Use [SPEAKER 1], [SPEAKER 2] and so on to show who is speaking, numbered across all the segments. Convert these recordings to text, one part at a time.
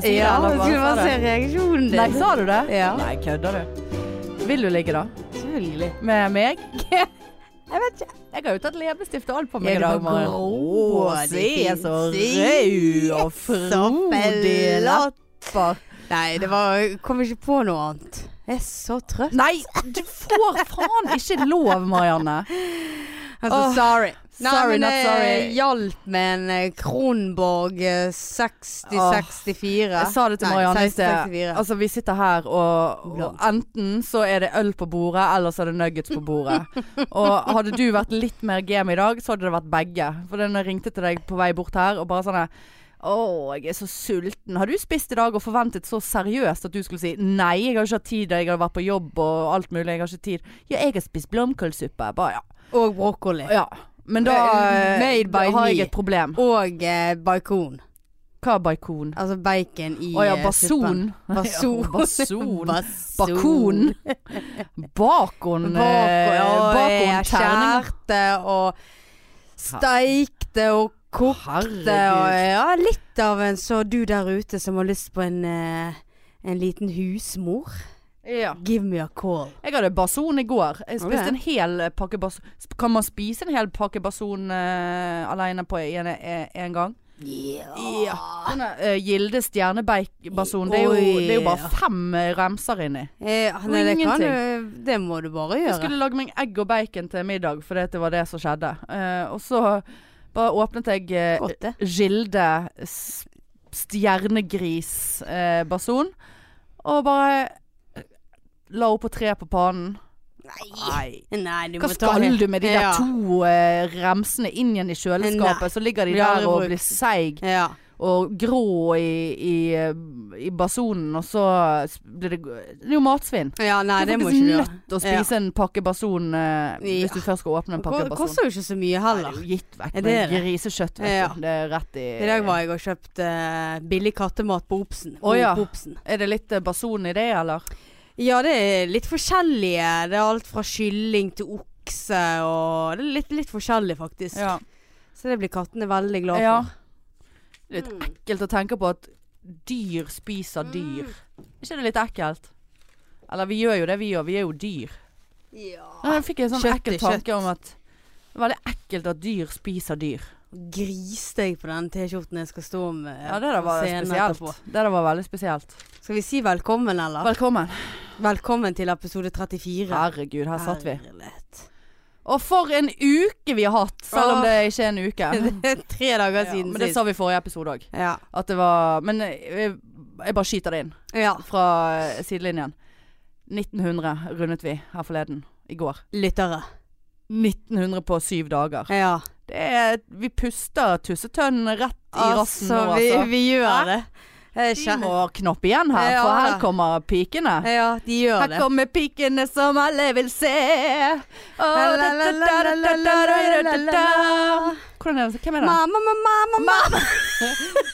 [SPEAKER 1] Ja,
[SPEAKER 2] eller
[SPEAKER 1] jeg
[SPEAKER 2] bare
[SPEAKER 1] skulle bare
[SPEAKER 2] sa
[SPEAKER 1] se
[SPEAKER 2] det?
[SPEAKER 1] reaksjonen din.
[SPEAKER 2] Nei, sa du det?
[SPEAKER 1] Ja.
[SPEAKER 2] Nei, kødder du? Vil du ligge, da?
[SPEAKER 1] Selvfølgelig.
[SPEAKER 2] Med meg? Jeg vet ikke. Jeg har jo tatt leppestift og alt på meg
[SPEAKER 1] Er
[SPEAKER 2] i
[SPEAKER 1] du
[SPEAKER 2] dag.
[SPEAKER 1] på
[SPEAKER 2] Maren.
[SPEAKER 1] grå,
[SPEAKER 2] Å, se
[SPEAKER 1] din
[SPEAKER 2] så
[SPEAKER 1] fin
[SPEAKER 2] rød og frodig
[SPEAKER 1] Saffelott.
[SPEAKER 2] lepper.
[SPEAKER 1] Nei, det var Jeg kom ikke på noe annet. Jeg er så trøtt.
[SPEAKER 2] Nei, du får faen ikke lov, Marianne.
[SPEAKER 1] Altså,
[SPEAKER 2] Åh, eh,
[SPEAKER 1] sorry.
[SPEAKER 2] sorry,
[SPEAKER 1] men
[SPEAKER 2] not
[SPEAKER 1] det
[SPEAKER 2] sorry.
[SPEAKER 1] hjalp med en eh, Kronborg eh, 6064.
[SPEAKER 2] Jeg sa det til Marianne i sted.
[SPEAKER 1] 6064.
[SPEAKER 2] Altså, vi sitter her, og, og
[SPEAKER 1] Blant.
[SPEAKER 2] enten så er det øl på bordet, eller så er det nuggets på bordet. og hadde du vært litt mer game i dag, så hadde det vært begge. For den ringte til deg på vei bort her, og bare sånn å, jeg er så sulten. Har du spist i dag og forventet så seriøst at du skulle si nei, jeg har ikke hatt tid, jeg har vært på jobb og alt mulig, jeg har ikke tid. Ja, jeg har spist blomkålsuppe. Bare ja.
[SPEAKER 1] og brokkoli.
[SPEAKER 2] ja. Men da, eh,
[SPEAKER 1] Made
[SPEAKER 2] da
[SPEAKER 1] by
[SPEAKER 2] har
[SPEAKER 1] me.
[SPEAKER 2] jeg et problem.
[SPEAKER 1] Og eh, bacon.
[SPEAKER 2] Hva er baikon?
[SPEAKER 1] Altså bacon i
[SPEAKER 2] Å ja,
[SPEAKER 1] eh,
[SPEAKER 2] bason.
[SPEAKER 1] suppen. Bason.
[SPEAKER 2] Ja, bason.
[SPEAKER 1] Bason.
[SPEAKER 2] Bakon. Bakon.
[SPEAKER 1] Bakon,
[SPEAKER 2] eh,
[SPEAKER 1] og eh,
[SPEAKER 2] bakon terning.
[SPEAKER 1] skjærte og steikte og kokte og
[SPEAKER 2] Herregud.
[SPEAKER 1] Ja, litt av en så du der ute som har lyst på en, eh, en liten husmor.
[SPEAKER 2] Ja.
[SPEAKER 1] Give me a call.
[SPEAKER 2] Jeg hadde bason i går. Jeg
[SPEAKER 1] Har du
[SPEAKER 2] spiste
[SPEAKER 1] det?
[SPEAKER 2] en hel pakke bason. Sp- Kan man spise en hel pakke bason eh, alene på en, eh, en gang? Ja. Sånne, eh, Gilde stjernebason. Det, er jo-
[SPEAKER 1] Oi.
[SPEAKER 2] det er jo bare fem eh, remser inni.
[SPEAKER 1] Eh, nei, det, kan
[SPEAKER 2] Ingenting.
[SPEAKER 1] du, det må du bare
[SPEAKER 2] Jeg
[SPEAKER 1] gjøre.
[SPEAKER 2] skulle lage meg egg og bacon til middag, for det var det som skjedde. Eh, og så bare åpnet jeg eh,
[SPEAKER 1] Godt, det.
[SPEAKER 2] Gilde s- stjernegris-bason. Eh, bason, og bare eh, la opp på tre på pannen. Nei.
[SPEAKER 1] Nei, du
[SPEAKER 2] Hva
[SPEAKER 1] må ta
[SPEAKER 2] skal
[SPEAKER 1] det.
[SPEAKER 2] du med de der
[SPEAKER 1] Ja.
[SPEAKER 2] to eh, remsene inn igjen i kjøleskapet?
[SPEAKER 1] Nei.
[SPEAKER 2] Så ligger de
[SPEAKER 1] Blir aldri
[SPEAKER 2] der og
[SPEAKER 1] brukt.
[SPEAKER 2] blir seig
[SPEAKER 1] Ja.
[SPEAKER 2] og grå i, i, eh, i basonen, og så s- blir det Det er jo matsvinn.
[SPEAKER 1] ja,
[SPEAKER 2] du
[SPEAKER 1] nei, det
[SPEAKER 2] er
[SPEAKER 1] må
[SPEAKER 2] faktisk
[SPEAKER 1] ikke du gjøre.
[SPEAKER 2] nødt til å spise en pakke bason eh, hvis
[SPEAKER 1] Ja.
[SPEAKER 2] du først skal åpne en sånn. pakke
[SPEAKER 1] Det
[SPEAKER 2] bason.
[SPEAKER 1] koster jo ikke så
[SPEAKER 2] Nei,
[SPEAKER 1] mye heller.
[SPEAKER 2] det er jo gitt vekk
[SPEAKER 1] Er det
[SPEAKER 2] med
[SPEAKER 1] det?
[SPEAKER 2] grisekjøtt, vet
[SPEAKER 1] Ja.
[SPEAKER 2] du. Det er rett i
[SPEAKER 1] I dag var jeg og kjøpte eh, billig kattemat på Obsen.
[SPEAKER 2] Å, ja.
[SPEAKER 1] På Obsen.
[SPEAKER 2] Er det litt eh, bason i det, eller?
[SPEAKER 1] Ja, det er litt forskjellige. Det er alt fra kylling til okse og Det er litt, litt forskjellig, faktisk. Så det blir kattene veldig glad
[SPEAKER 2] Ja.
[SPEAKER 1] for. Mm.
[SPEAKER 2] Litt ekkelt å tenke på at dyr spiser dyr. Er ikke det litt ekkelt? Eller vi gjør jo det vi gjør, vi er jo dyr.
[SPEAKER 1] Ja.
[SPEAKER 2] Nei, jeg fikk en sånn
[SPEAKER 1] Kjøtt er
[SPEAKER 2] ekkel tanke om at det er veldig ekkelt at dyr spiser dyr.
[SPEAKER 1] Griste jeg på den T-skjorten jeg skal stå med
[SPEAKER 2] Ja, det der
[SPEAKER 1] på
[SPEAKER 2] var
[SPEAKER 1] scenen
[SPEAKER 2] spesielt.
[SPEAKER 1] etterpå.
[SPEAKER 2] Det der var veldig spesielt.
[SPEAKER 1] Skal vi si velkommen, eller?
[SPEAKER 2] Velkommen.
[SPEAKER 1] velkommen til episode 34.
[SPEAKER 2] Herregud, her satt vi.
[SPEAKER 1] Herlighet.
[SPEAKER 2] Og for en uke vi har hatt, selv om det ikke er en uke.
[SPEAKER 1] Det er tre dager
[SPEAKER 2] Ja,
[SPEAKER 1] siden
[SPEAKER 2] men det
[SPEAKER 1] sist.
[SPEAKER 2] sa vi i forrige episode òg.
[SPEAKER 1] Ja.
[SPEAKER 2] At det var Men jeg, jeg bare skyter det inn
[SPEAKER 1] ja.
[SPEAKER 2] fra sidelinjen. 1900 rundet vi her forleden. I går.
[SPEAKER 1] Lyttere.
[SPEAKER 2] 1900 på syv dager.
[SPEAKER 1] Ja.
[SPEAKER 2] Det er, vi puster tussetønnen rett i rassen nå,
[SPEAKER 1] vi,
[SPEAKER 2] altså.
[SPEAKER 1] vi gjør
[SPEAKER 2] Hæ?
[SPEAKER 1] det. Eh, Jeg
[SPEAKER 2] Vi
[SPEAKER 1] kjen-
[SPEAKER 2] må knappe igjen her,
[SPEAKER 1] Ja,
[SPEAKER 2] for
[SPEAKER 1] da.
[SPEAKER 2] her kommer pikene.
[SPEAKER 1] Ja, de gjør
[SPEAKER 2] Her
[SPEAKER 1] det.
[SPEAKER 2] kommer pikene som alle vil se. Åh,
[SPEAKER 1] La, la, la, la, la, la, la, la, la, la.
[SPEAKER 2] Hvordan er det? Hvem er det?
[SPEAKER 1] Mamma, mamma, mamma.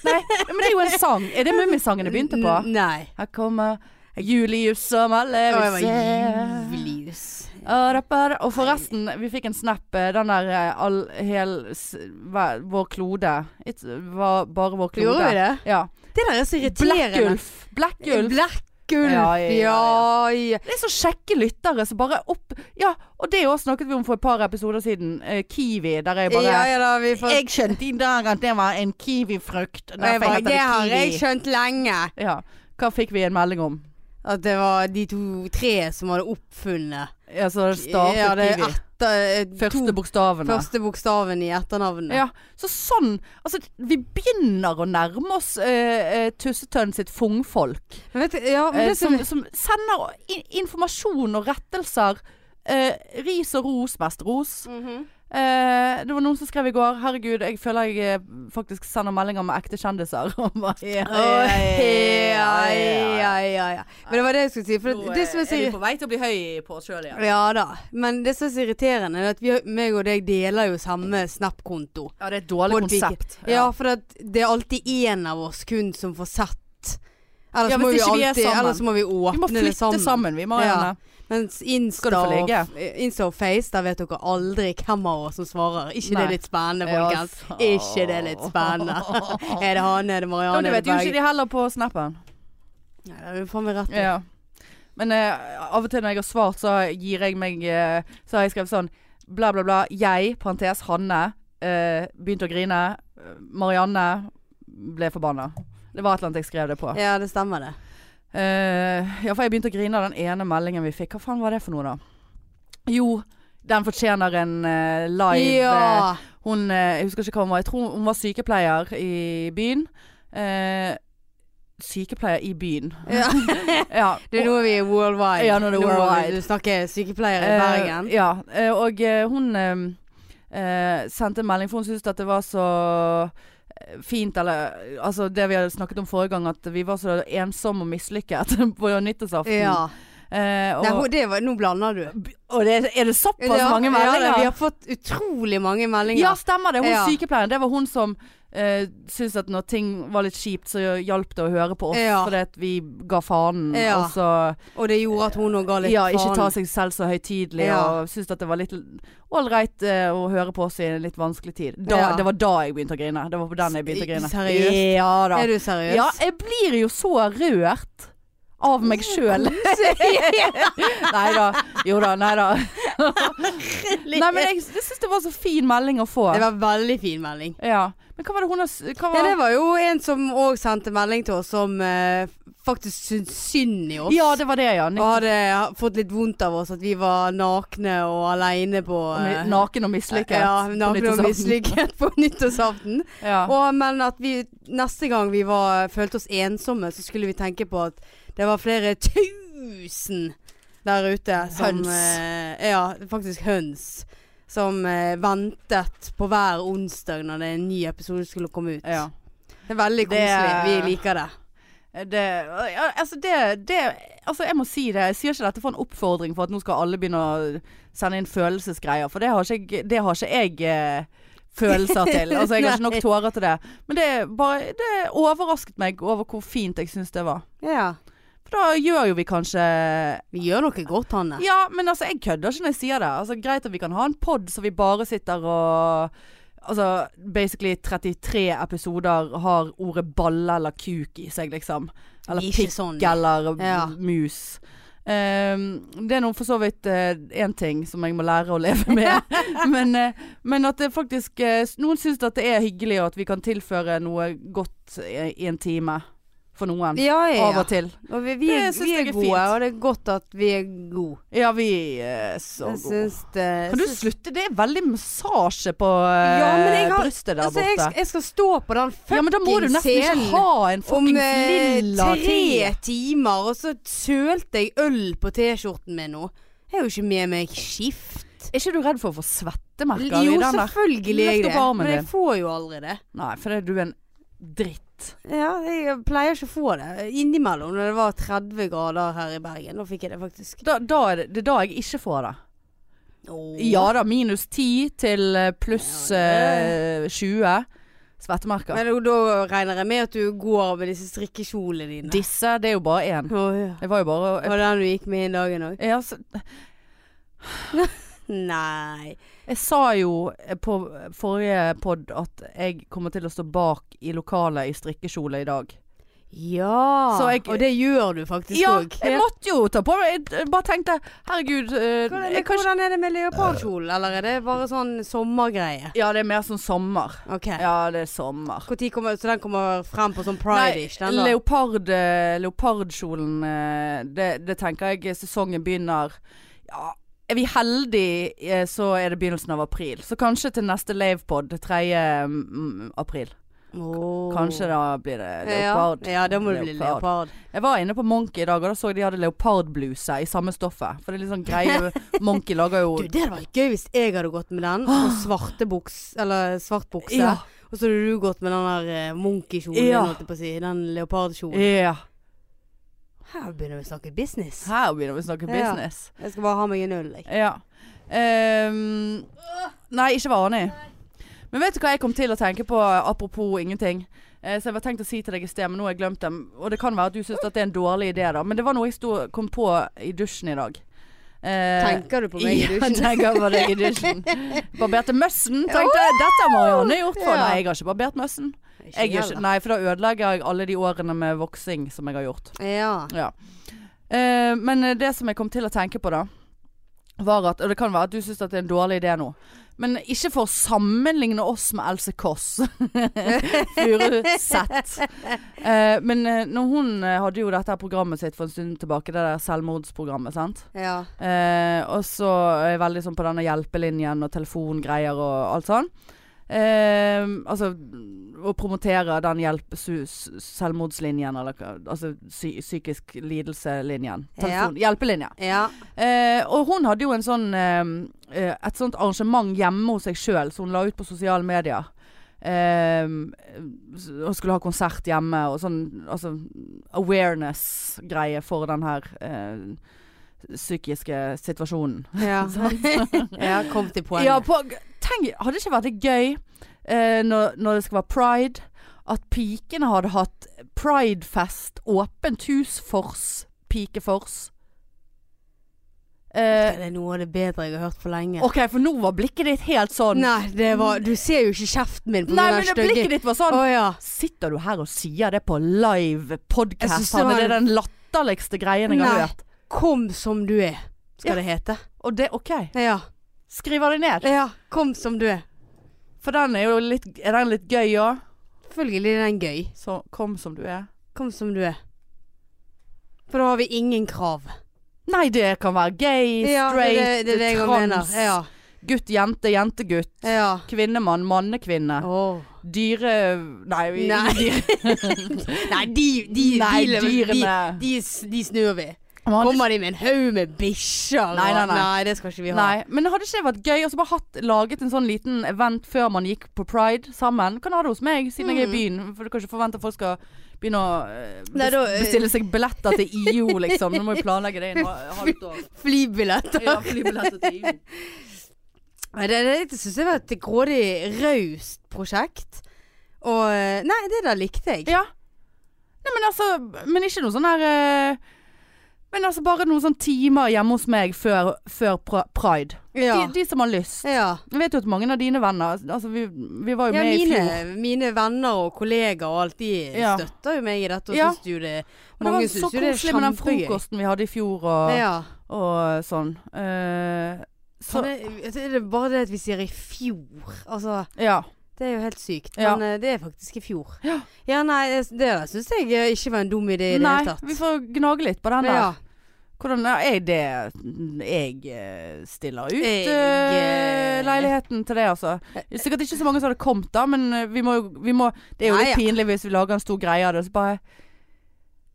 [SPEAKER 2] Nei, men det er jo en sang. Er det Mummisangen det begynte på?
[SPEAKER 1] N- Nei.
[SPEAKER 2] Her kommer Julius som alle
[SPEAKER 1] Det
[SPEAKER 2] vil
[SPEAKER 1] var
[SPEAKER 2] se.
[SPEAKER 1] Julius.
[SPEAKER 2] Arapara. Og forresten, vi fikk en snap. eh, Den der eh, all, hel, s, hva, Vår klode. It's, var bare vår klode.
[SPEAKER 1] Gjorde vi det?
[SPEAKER 2] Ja.
[SPEAKER 1] Det der er så irriterende.
[SPEAKER 2] Blackulf. Blackulf.
[SPEAKER 1] Blekkulf,
[SPEAKER 2] Ja,
[SPEAKER 1] ja.
[SPEAKER 2] ja, ja, det er så kjekke lyttere som bare opp Ja, og det òg snakket vi om for et par episoder siden. eh, kiwi, der jeg
[SPEAKER 1] ja.
[SPEAKER 2] bare
[SPEAKER 1] ja da, vi får
[SPEAKER 2] Jeg skjønte i dag at det var en kiwifrukt.
[SPEAKER 1] Og
[SPEAKER 2] Derfor
[SPEAKER 1] jeg
[SPEAKER 2] heter
[SPEAKER 1] bare, Det
[SPEAKER 2] det
[SPEAKER 1] har jeg
[SPEAKER 2] kiwi.
[SPEAKER 1] skjønt lenge.
[SPEAKER 2] Ja. Hva fikk vi en melding om?
[SPEAKER 1] At det var de to-tre som hadde oppfunnet
[SPEAKER 2] Altså, det startet
[SPEAKER 1] Ja, det er
[SPEAKER 2] kiwi.
[SPEAKER 1] etter, eh,
[SPEAKER 2] Første
[SPEAKER 1] to,
[SPEAKER 2] bokstavene.
[SPEAKER 1] første bokstaven i etternavnet.
[SPEAKER 2] Ja, så sånn Altså, vi begynner å nærme oss eh, eh, Tussetønn sitt fungfolk.
[SPEAKER 1] Men vet du, ja, men
[SPEAKER 2] Eh,
[SPEAKER 1] det som
[SPEAKER 2] som, som sender i- informasjon og rettelser. Eh, ris og ros, mest ros.
[SPEAKER 1] Mhm.
[SPEAKER 2] Eh, det var noen som skrev i går 'Herregud, jeg føler jeg eh, faktisk sender meldinger med ekte kjendiser'. Og bare, ja,
[SPEAKER 1] Oi,
[SPEAKER 2] ja,
[SPEAKER 1] ja,
[SPEAKER 2] ja.
[SPEAKER 1] ja, ja, ja. Men det var det jeg skulle si. For
[SPEAKER 2] Nå,
[SPEAKER 1] det, det som er
[SPEAKER 2] eh,
[SPEAKER 1] så
[SPEAKER 2] vi på vei til å bli høy på oss sjøl igjen?
[SPEAKER 1] Ja da, men det som er så irriterende, er at vi, meg og deg deler jo samme Snap-konto.
[SPEAKER 2] Ja, det er et dårlig
[SPEAKER 1] Bård Vike.
[SPEAKER 2] konsept.
[SPEAKER 1] Ja, for at det er alltid én av oss kun som får sett Ellers
[SPEAKER 2] Ja,
[SPEAKER 1] må
[SPEAKER 2] hvis
[SPEAKER 1] vi
[SPEAKER 2] ikke vi er
[SPEAKER 1] alltid
[SPEAKER 2] sammen.
[SPEAKER 1] Ellers må vi åpne
[SPEAKER 2] Vi må
[SPEAKER 1] det
[SPEAKER 2] flytte
[SPEAKER 1] sammen.
[SPEAKER 2] sammen, vi, Marianne.
[SPEAKER 1] Mens
[SPEAKER 2] Skal du
[SPEAKER 1] Insta
[SPEAKER 2] få
[SPEAKER 1] og,
[SPEAKER 2] ligge?
[SPEAKER 1] Insta og Face, der vet dere aldri hvem av oss som svarer. Ikke det
[SPEAKER 2] Nei.
[SPEAKER 1] er litt spennende,
[SPEAKER 2] Ja,
[SPEAKER 1] folkens?
[SPEAKER 2] sa-
[SPEAKER 1] Ikke det er litt spennende? er det han, er det
[SPEAKER 2] Ja,
[SPEAKER 1] Marianne,
[SPEAKER 2] det
[SPEAKER 1] er
[SPEAKER 2] vet
[SPEAKER 1] det
[SPEAKER 2] jo ikke
[SPEAKER 1] Berg?
[SPEAKER 2] de heller på snappen.
[SPEAKER 1] Nei, det er jo faen meg rett. i.
[SPEAKER 2] Ja. Men eh, av og til når jeg har svart, så gir jeg meg eh, Så har jeg skrevet sånn bla, bla, bla. Jeg, parentes Hanne, eh, begynte å grine. Marianne ble forbanna. Det var et eller annet jeg skrev det på.
[SPEAKER 1] Ja, det stemmer det.
[SPEAKER 2] Eh, ja, for jeg begynte å grine av den ene meldingen vi fikk. Hva faen var det for noe, da? Jo, den fortjener en eh, live eh,
[SPEAKER 1] Ja!
[SPEAKER 2] Hun, eh, jeg husker ikke hva hun var, jeg tror hun var sykepleier i byen. Eh, sykepleier i byen.
[SPEAKER 1] ja.
[SPEAKER 2] Ja.
[SPEAKER 1] Det er nå vi er worldwide.
[SPEAKER 2] Ja, nå er det
[SPEAKER 1] Nå må vi-
[SPEAKER 2] worldwide.
[SPEAKER 1] Du snakker sykepleiere i
[SPEAKER 2] Eh,
[SPEAKER 1] Bergen.
[SPEAKER 2] ja, eh, og eh, hun eh, eh, sendte en melding, for hun syntes at det var så eh, fint, eller altså det vi hadde snakket om forrige gang, at vi var så ensomme og mislykket på nyttårsaften.
[SPEAKER 1] Ja.
[SPEAKER 2] Eh,
[SPEAKER 1] Nei,
[SPEAKER 2] og,
[SPEAKER 1] hun- det var, nå blander du.
[SPEAKER 2] og det, er det såpass mange
[SPEAKER 1] Ja,
[SPEAKER 2] meldinger?
[SPEAKER 1] vi har fått utrolig mange meldinger.
[SPEAKER 2] Ja, stemmer det. Hun
[SPEAKER 1] Ja.
[SPEAKER 2] sykepleieren, det var hun som eh, syntes at når ting var litt kjipt, så hjalp det å høre på oss
[SPEAKER 1] Ja.
[SPEAKER 2] fordi at vi ga fanen.
[SPEAKER 1] Ja.
[SPEAKER 2] Og så
[SPEAKER 1] Og det gjorde at hun òg ga litt
[SPEAKER 2] ja, ikke
[SPEAKER 1] faen.
[SPEAKER 2] ta seg selv så høytidelig,
[SPEAKER 1] Ja.
[SPEAKER 2] og syntes at det var litt ålreit eh, å høre på oss i en litt vanskelig tid. Da,
[SPEAKER 1] Ja.
[SPEAKER 2] Det var da jeg begynte å grine. Det var på den jeg begynte å grine.
[SPEAKER 1] Seriøst?
[SPEAKER 2] Ja da.
[SPEAKER 1] Er du seriøs?
[SPEAKER 2] Ja, jeg blir jo så rørt av meg sjøl. nei da. Jo da, nei da. Nei, men jeg, jeg syns det var så fin melding å få.
[SPEAKER 1] Det var veldig fin melding.
[SPEAKER 2] Ja. Men hva var det hun har s- hva var...
[SPEAKER 1] Ja, det var jo en som òg sendte melding til oss som eh, faktisk syntes synd i oss.
[SPEAKER 2] Ja, det var det, ja. Nick-
[SPEAKER 1] og hadde fått litt vondt av oss at vi var nakne og aleine på
[SPEAKER 2] og
[SPEAKER 1] eh,
[SPEAKER 2] mi- Naken og mislykket.
[SPEAKER 1] Ja,
[SPEAKER 2] på
[SPEAKER 1] nakne og
[SPEAKER 2] nyttårsaften.
[SPEAKER 1] mislykket på nyttårsaften.
[SPEAKER 2] Ja.
[SPEAKER 1] Og, men at vi neste gang vi var, følte oss ensomme, så skulle vi tenke på at det var flere tusen der ute som
[SPEAKER 2] Høns.
[SPEAKER 1] eh, ja, faktisk høns. Som eh, ventet på hver onsdag når det en ny episode skulle komme ut.
[SPEAKER 2] ja.
[SPEAKER 1] Det er veldig
[SPEAKER 2] Det-
[SPEAKER 1] koselig. Vi liker det.
[SPEAKER 2] Eh, Det, ja, altså det, det Altså, jeg må si det. Jeg sier ikke dette for en oppfordring for at nå skal alle begynne å sende inn følelsesgreier, for det har ikke, jeg- det har ikke jeg eh, følelser til. Altså, jeg har ikke nok tårer til det. Men det, er bare, det overrasket meg over hvor fint jeg syns det var.
[SPEAKER 1] Ja.
[SPEAKER 2] For da gjør jo vi kanskje
[SPEAKER 1] Vi gjør noe godt, Hanne.
[SPEAKER 2] Ja, men altså, jeg kødder ikke når jeg sier det. Altså, greit at vi kan ha en pod så vi bare sitter og Altså basically 33 episoder har ordet balle eller kuk i seg, liksom. Eller
[SPEAKER 1] Vi er
[SPEAKER 2] pikk
[SPEAKER 1] ikke sånn.
[SPEAKER 2] eller
[SPEAKER 1] Ja.
[SPEAKER 2] mus. Ehm, det er nå for så vidt én ting som jeg må lære å leve med. men, eh, men at det faktisk eh, Noen syns at det er hyggelig, og at vi kan tilføre noe godt eh, i en time. For noen.
[SPEAKER 1] Ja, ja.
[SPEAKER 2] Av og til.
[SPEAKER 1] Og vi, vi,
[SPEAKER 2] Det
[SPEAKER 1] er,
[SPEAKER 2] synes
[SPEAKER 1] vi
[SPEAKER 2] jeg
[SPEAKER 1] er
[SPEAKER 2] er
[SPEAKER 1] gode,
[SPEAKER 2] fint.
[SPEAKER 1] og det er godt at vi er gode.
[SPEAKER 2] Ja, vi er så
[SPEAKER 1] Jeg
[SPEAKER 2] gode.
[SPEAKER 1] syns det
[SPEAKER 2] Kan du
[SPEAKER 1] syns-
[SPEAKER 2] slutte? Det er veldig massasje på
[SPEAKER 1] Ja, men jeg
[SPEAKER 2] eh,
[SPEAKER 1] har-
[SPEAKER 2] brystet der
[SPEAKER 1] Altså, jeg,
[SPEAKER 2] borte.
[SPEAKER 1] sk- jeg skal stå på den
[SPEAKER 2] ja, men da må du
[SPEAKER 1] fuckings
[SPEAKER 2] nesten
[SPEAKER 1] scenen
[SPEAKER 2] ikke ha en
[SPEAKER 1] om
[SPEAKER 2] fuckings
[SPEAKER 1] eh,
[SPEAKER 2] lilla
[SPEAKER 1] tre
[SPEAKER 2] te.
[SPEAKER 1] timer, og så sølte jeg øl på T-skjorten min nå. Jeg er jo ikke med meg skift.
[SPEAKER 2] Er ikke du redd for å få svettemerker
[SPEAKER 1] Jo,
[SPEAKER 2] i den der?
[SPEAKER 1] selvfølgelig er jeg
[SPEAKER 2] Løft
[SPEAKER 1] det,
[SPEAKER 2] opp armen
[SPEAKER 1] men jeg
[SPEAKER 2] din.
[SPEAKER 1] får jo aldri det.
[SPEAKER 2] Nei, for det er du en dritt.
[SPEAKER 1] Ja, jeg pleier ikke å få det. Innimellom, når det var 30 grader her i Bergen, da fikk jeg det faktisk.
[SPEAKER 2] Da, da er det, det er da jeg ikke får det.
[SPEAKER 1] Åh.
[SPEAKER 2] Ja da, minus 10 til eh, pluss
[SPEAKER 1] Ja,
[SPEAKER 2] eh, 20 svettemerker.
[SPEAKER 1] Men da regner jeg med at du går med disse strikkekjolene dine.
[SPEAKER 2] Disse, det er jo bare én.
[SPEAKER 1] Å, ja.
[SPEAKER 2] Det var jo bare
[SPEAKER 1] Var det den du gikk med i dagen òg?
[SPEAKER 2] Ja, så-
[SPEAKER 1] Nei.
[SPEAKER 2] Jeg sa jo på forrige pod at jeg kommer til å stå bak i lokalet i strikkekjole i dag.
[SPEAKER 1] Ja.
[SPEAKER 2] Så jeg-
[SPEAKER 1] og det gjør du faktisk
[SPEAKER 2] Ja,
[SPEAKER 1] òg.
[SPEAKER 2] jeg måtte jo ta på meg Jeg bare tenkte herregud eh, jeg
[SPEAKER 1] Hvordan,
[SPEAKER 2] kan ikke-
[SPEAKER 1] hvordan er det med leopardkjolen, eller er det bare sånn sommergreie?
[SPEAKER 2] Ja, det er mer sånn sommer.
[SPEAKER 1] Ok.
[SPEAKER 2] Ja, det er sommer.
[SPEAKER 1] Hvor tid kommer, så den kommer frem på sånn
[SPEAKER 2] Nei,
[SPEAKER 1] pride-ish? den da?
[SPEAKER 2] leopard, eh, leopardkjolen eh, det, det tenker jeg sesongen begynner Ja, er vi heldige, eh, så er det begynnelsen av april. Så kanskje til neste Lavepod 3. mm, april.
[SPEAKER 1] Åh.
[SPEAKER 2] Kanskje da blir det
[SPEAKER 1] Oh. Ja,
[SPEAKER 2] leopard.
[SPEAKER 1] ja da må det bli
[SPEAKER 2] Leopard.
[SPEAKER 1] leopard.
[SPEAKER 2] Jeg var inne på Monkey i dag, og da så jeg de hadde leopardbluse i samme stoffet. For det er litt sånn greie Monkey lager jo
[SPEAKER 1] Du, det hadde vært gøy hvis jeg hadde gått med den, og svarte buks, eller svart bukse.
[SPEAKER 2] Ja.
[SPEAKER 1] Og så hadde du gått med den der eh, monkeykjolen,
[SPEAKER 2] Ja.
[SPEAKER 1] holdt jeg på å si. Den leopardkjolen.
[SPEAKER 2] Ja.
[SPEAKER 1] Her begynner vi å snakke business.
[SPEAKER 2] Her begynner vi å snakke
[SPEAKER 1] Ja.
[SPEAKER 2] business.
[SPEAKER 1] Jeg skal bare ha meg en øl, jeg.
[SPEAKER 2] Ja. Ehm, nei, ikke var enig. Men vet du hva jeg kom til å tenke på, apropos ingenting? Eh, Eh, så jeg var tenkt å si til deg i sted, men nå har jeg glemt dem. Og det kan være at du syns det er en dårlig idé, da. Men det var noe jeg sto, kom på i dusjen i dag. Eh,
[SPEAKER 1] Tenker du på meg i
[SPEAKER 2] Ja,
[SPEAKER 1] dusjen?
[SPEAKER 2] tenker på deg i dusjen. Barberte møssen, tenkte jeg. Dette har Marianne gjort for.
[SPEAKER 1] Ja.
[SPEAKER 2] Nei, jeg har ikke barbert møssen. Jeg gjør ikke,
[SPEAKER 1] heller.
[SPEAKER 2] nei, for da ødelegger jeg alle de årene med voksing som jeg har gjort.
[SPEAKER 1] Ja.
[SPEAKER 2] Ja. Eh, men det som jeg kom til å tenke på da, var at Og det kan være at du syns det er en dårlig idé nå. Men ikke for å sammenligne oss med Else Kåss Furuseth. Eh, men eh, når hun eh, hadde jo dette her programmet sitt for en stund tilbake, det der selvmordsprogrammet, sant.
[SPEAKER 1] ja.
[SPEAKER 2] Eh, og så er jeg veldig sånn på denne hjelpelinjen og telefongreier og alt sånn. Eh, altså å promotere den hjelp... Su, s- selvmordslinjen, eller hva- altså psy, psykisk lidelse-linjen. Telefon, Hjelpelinje.
[SPEAKER 1] Ja.
[SPEAKER 2] Eh, og hun hadde jo en sånn eh, eh, et sånt arrangement hjemme hos seg sjøl, som hun la ut på sosiale medier. Eh, s- og skulle ha konsert hjemme og sånn altså, awareness-greie for den her eh, psykiske situasjonen.
[SPEAKER 1] Ja. ja. Kom til poenget.
[SPEAKER 2] Ja, på, tenk, hadde det ikke vært litt gøy eh, når, når det skal være pride, at pikene hadde hatt pridefest, åpent hus, fors, pikefors? Eh,
[SPEAKER 1] det er noe av det bedre jeg har hørt på lenge.
[SPEAKER 2] OK, for nå var blikket ditt helt sånn. Nei,
[SPEAKER 1] Nei, det var Du ser jo ikke kjeften min på den
[SPEAKER 2] men det
[SPEAKER 1] stygge
[SPEAKER 2] blikket ditt var sånn.
[SPEAKER 1] Å ja.
[SPEAKER 2] Sitter du her og sier det på live
[SPEAKER 1] Jeg synes
[SPEAKER 2] podcast?
[SPEAKER 1] det var
[SPEAKER 2] Hanne? Det er
[SPEAKER 1] en-
[SPEAKER 2] den latterligste greien jeg
[SPEAKER 1] Nei.
[SPEAKER 2] har hørt.
[SPEAKER 1] Kom som du er, skal
[SPEAKER 2] Ja.
[SPEAKER 1] det hete.
[SPEAKER 2] Og det, OK.
[SPEAKER 1] Ja.
[SPEAKER 2] Skriver det ned.
[SPEAKER 1] ja. Kom som du er.
[SPEAKER 2] For den er jo litt, er den litt gøy òg.
[SPEAKER 1] Selvfølgelig er den gøy.
[SPEAKER 2] Så kom som du er.
[SPEAKER 1] Kom som du er. For da har vi ingen krav.
[SPEAKER 2] Nei, det kan være gay,
[SPEAKER 1] Ja, det,
[SPEAKER 2] straight,
[SPEAKER 1] er det, det er det jeg
[SPEAKER 2] trans,
[SPEAKER 1] mener. Ja.
[SPEAKER 2] gutt, jente, jentegutt,
[SPEAKER 1] ja.
[SPEAKER 2] kvinnemann, mannekvinne,
[SPEAKER 1] Åh.
[SPEAKER 2] dyre... Nei, vi-
[SPEAKER 1] Nei.
[SPEAKER 2] dyre-
[SPEAKER 1] Nei, de, de,
[SPEAKER 2] nei
[SPEAKER 1] de, de,
[SPEAKER 2] dyrene.
[SPEAKER 1] de, de snur vi.
[SPEAKER 2] Man hadde
[SPEAKER 1] Kommer de med en haug med bikkjer?
[SPEAKER 2] Nei, nei,
[SPEAKER 1] og-
[SPEAKER 2] nei.
[SPEAKER 1] det skal ikke vi
[SPEAKER 2] ikke-
[SPEAKER 1] ha.
[SPEAKER 2] Nei, men hadde ikke det vært gøy å så bare hatt, laget en sånn liten event før man gikk på Pride sammen? Kan ha det hos meg, siden jeg er i byen. For du kan ikke forvente at folk skal begynne å eh,
[SPEAKER 1] Mm. Nei, da, eh,
[SPEAKER 2] bestille seg billetter til IO, liksom. Nå må vi planlegge det inn et halvt år.
[SPEAKER 1] Flybilletter.
[SPEAKER 2] Ja, flybilletter til IO.
[SPEAKER 1] Nei, det, det, det syns jeg var et grådig raust prosjekt. Og eh, Nei, det der likte jeg.
[SPEAKER 2] Ja. Nei, men altså Men ikke noe sånn her eh, Men altså bare noen sånne timer hjemme hos meg før, før pra- pride.
[SPEAKER 1] Ja.
[SPEAKER 2] De, de som har lyst.
[SPEAKER 1] ja.
[SPEAKER 2] Jeg vet jo at mange av dine venner Altså, vi, vi var jo
[SPEAKER 1] Ja,
[SPEAKER 2] med i
[SPEAKER 1] mine,
[SPEAKER 2] fjor.
[SPEAKER 1] mine venner og kollegaer og alt, de
[SPEAKER 2] Ja.
[SPEAKER 1] støtter jo meg i dette. Og
[SPEAKER 2] Ja.
[SPEAKER 1] syns jo det
[SPEAKER 2] Og det var
[SPEAKER 1] Mange
[SPEAKER 2] så
[SPEAKER 1] syns jo det er
[SPEAKER 2] koselig med den
[SPEAKER 1] kjempegøy.
[SPEAKER 2] frokosten vi hadde i fjor og,
[SPEAKER 1] Ja.
[SPEAKER 2] og sånn. Eh, så
[SPEAKER 1] Så det, det altså, er bare det at vi sier i fjor. Altså,
[SPEAKER 2] Ja.
[SPEAKER 1] det er jo helt sykt.
[SPEAKER 2] Ja.
[SPEAKER 1] Men eh, det er faktisk i fjor.
[SPEAKER 2] Ja.
[SPEAKER 1] Ja, nei, det- det der syns jeg eh, ikke var en dum idé i det
[SPEAKER 2] Nei,
[SPEAKER 1] hele tatt.
[SPEAKER 2] vi får gnage litt på den der.
[SPEAKER 1] ja.
[SPEAKER 2] Hvordan er det jeg eh, stiller ut
[SPEAKER 1] Jeg,
[SPEAKER 2] eh,
[SPEAKER 1] eh,
[SPEAKER 2] leiligheten til det, altså? Det er sikkert ikke så mange som hadde kommet da, men eh, vi må, jo- vi må Det er jo
[SPEAKER 1] Nei,
[SPEAKER 2] litt
[SPEAKER 1] ja.
[SPEAKER 2] pinlig hvis vi lager en stor greie av det, og så bare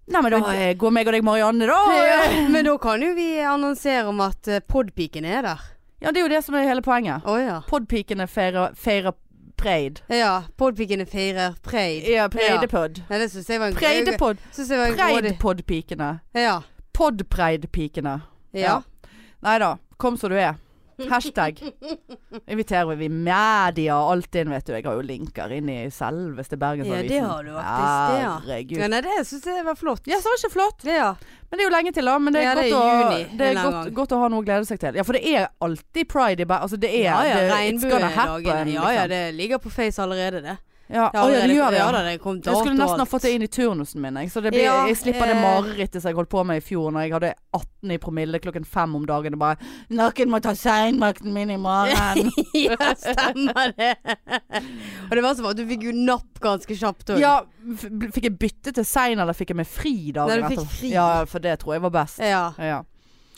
[SPEAKER 2] Nei, men da
[SPEAKER 1] Men-
[SPEAKER 2] eh, går meg og deg Marianne, da. eh.
[SPEAKER 1] Ja, Men da kan jo vi annonsere om at eh, podpiken er der.
[SPEAKER 2] Ja, det er jo det som er hele poenget.
[SPEAKER 1] Å ja.
[SPEAKER 2] Podpikene feirer, feirer preid.
[SPEAKER 1] Ja, podpikene feirer Preid.
[SPEAKER 2] Ja, preidepod.
[SPEAKER 1] Nei, det syns jeg var en
[SPEAKER 2] Preidepod.
[SPEAKER 1] Synes jeg var en grådig-
[SPEAKER 2] Preidpodpikene.
[SPEAKER 1] Ja.
[SPEAKER 2] Podpreidpikene.
[SPEAKER 1] Ja.
[SPEAKER 2] Nei da, kom så du er. Hashtag. Inviterer vi media og alt inn, vet du. Jeg har jo linker inn i selveste
[SPEAKER 1] Ja,
[SPEAKER 2] Bergensavisen.
[SPEAKER 1] det har du faktisk, det, ja. ja.
[SPEAKER 2] Herregud.
[SPEAKER 1] Nei, det syns jeg var flott.
[SPEAKER 2] Ja, så var det ikke flott.
[SPEAKER 1] Det, ja.
[SPEAKER 2] Men det er jo lenge til, da. Men det er,
[SPEAKER 1] Ja, det er
[SPEAKER 2] godt,
[SPEAKER 1] juni
[SPEAKER 2] å, det
[SPEAKER 1] en
[SPEAKER 2] er
[SPEAKER 1] eller
[SPEAKER 2] godt,
[SPEAKER 1] annen gang.
[SPEAKER 2] godt å ha noe å glede seg til. Ja, for det er alltid pride i Bergen. Altså, det er
[SPEAKER 1] ja, ja,
[SPEAKER 2] det, it's gonna happen,
[SPEAKER 1] Regnbuedagene. Ja ja,
[SPEAKER 2] liksom.
[SPEAKER 1] det ligger på Face allerede, det.
[SPEAKER 2] Ja,
[SPEAKER 1] Det har
[SPEAKER 2] å, ja, det
[SPEAKER 1] allerede-
[SPEAKER 2] gjør det.
[SPEAKER 1] Ja
[SPEAKER 2] Ja.
[SPEAKER 1] da, det kom
[SPEAKER 2] Jeg skulle
[SPEAKER 1] dato og
[SPEAKER 2] nesten ha
[SPEAKER 1] alt.
[SPEAKER 2] fått det inn i turnusen min. Jeg, så det blir,
[SPEAKER 1] Ja,
[SPEAKER 2] jeg slipper det
[SPEAKER 1] eh.
[SPEAKER 2] marerittet som jeg holdt på med i fjor Når jeg hadde 18 i promille klokken fem om dagen. Og bare 'Noen må ta seinmakten min i morgen'.
[SPEAKER 1] ja, stemmer det. og det var som at du fikk jo napp ganske kjapt òg.
[SPEAKER 2] Ja, f- bl- fikk jeg bytte til sein, eller fikk jeg meg fri dagen
[SPEAKER 1] Nei, du fikk
[SPEAKER 2] etterpå?
[SPEAKER 1] fri.
[SPEAKER 2] Ja, for det tror jeg var best.
[SPEAKER 1] Ja.
[SPEAKER 2] Ja.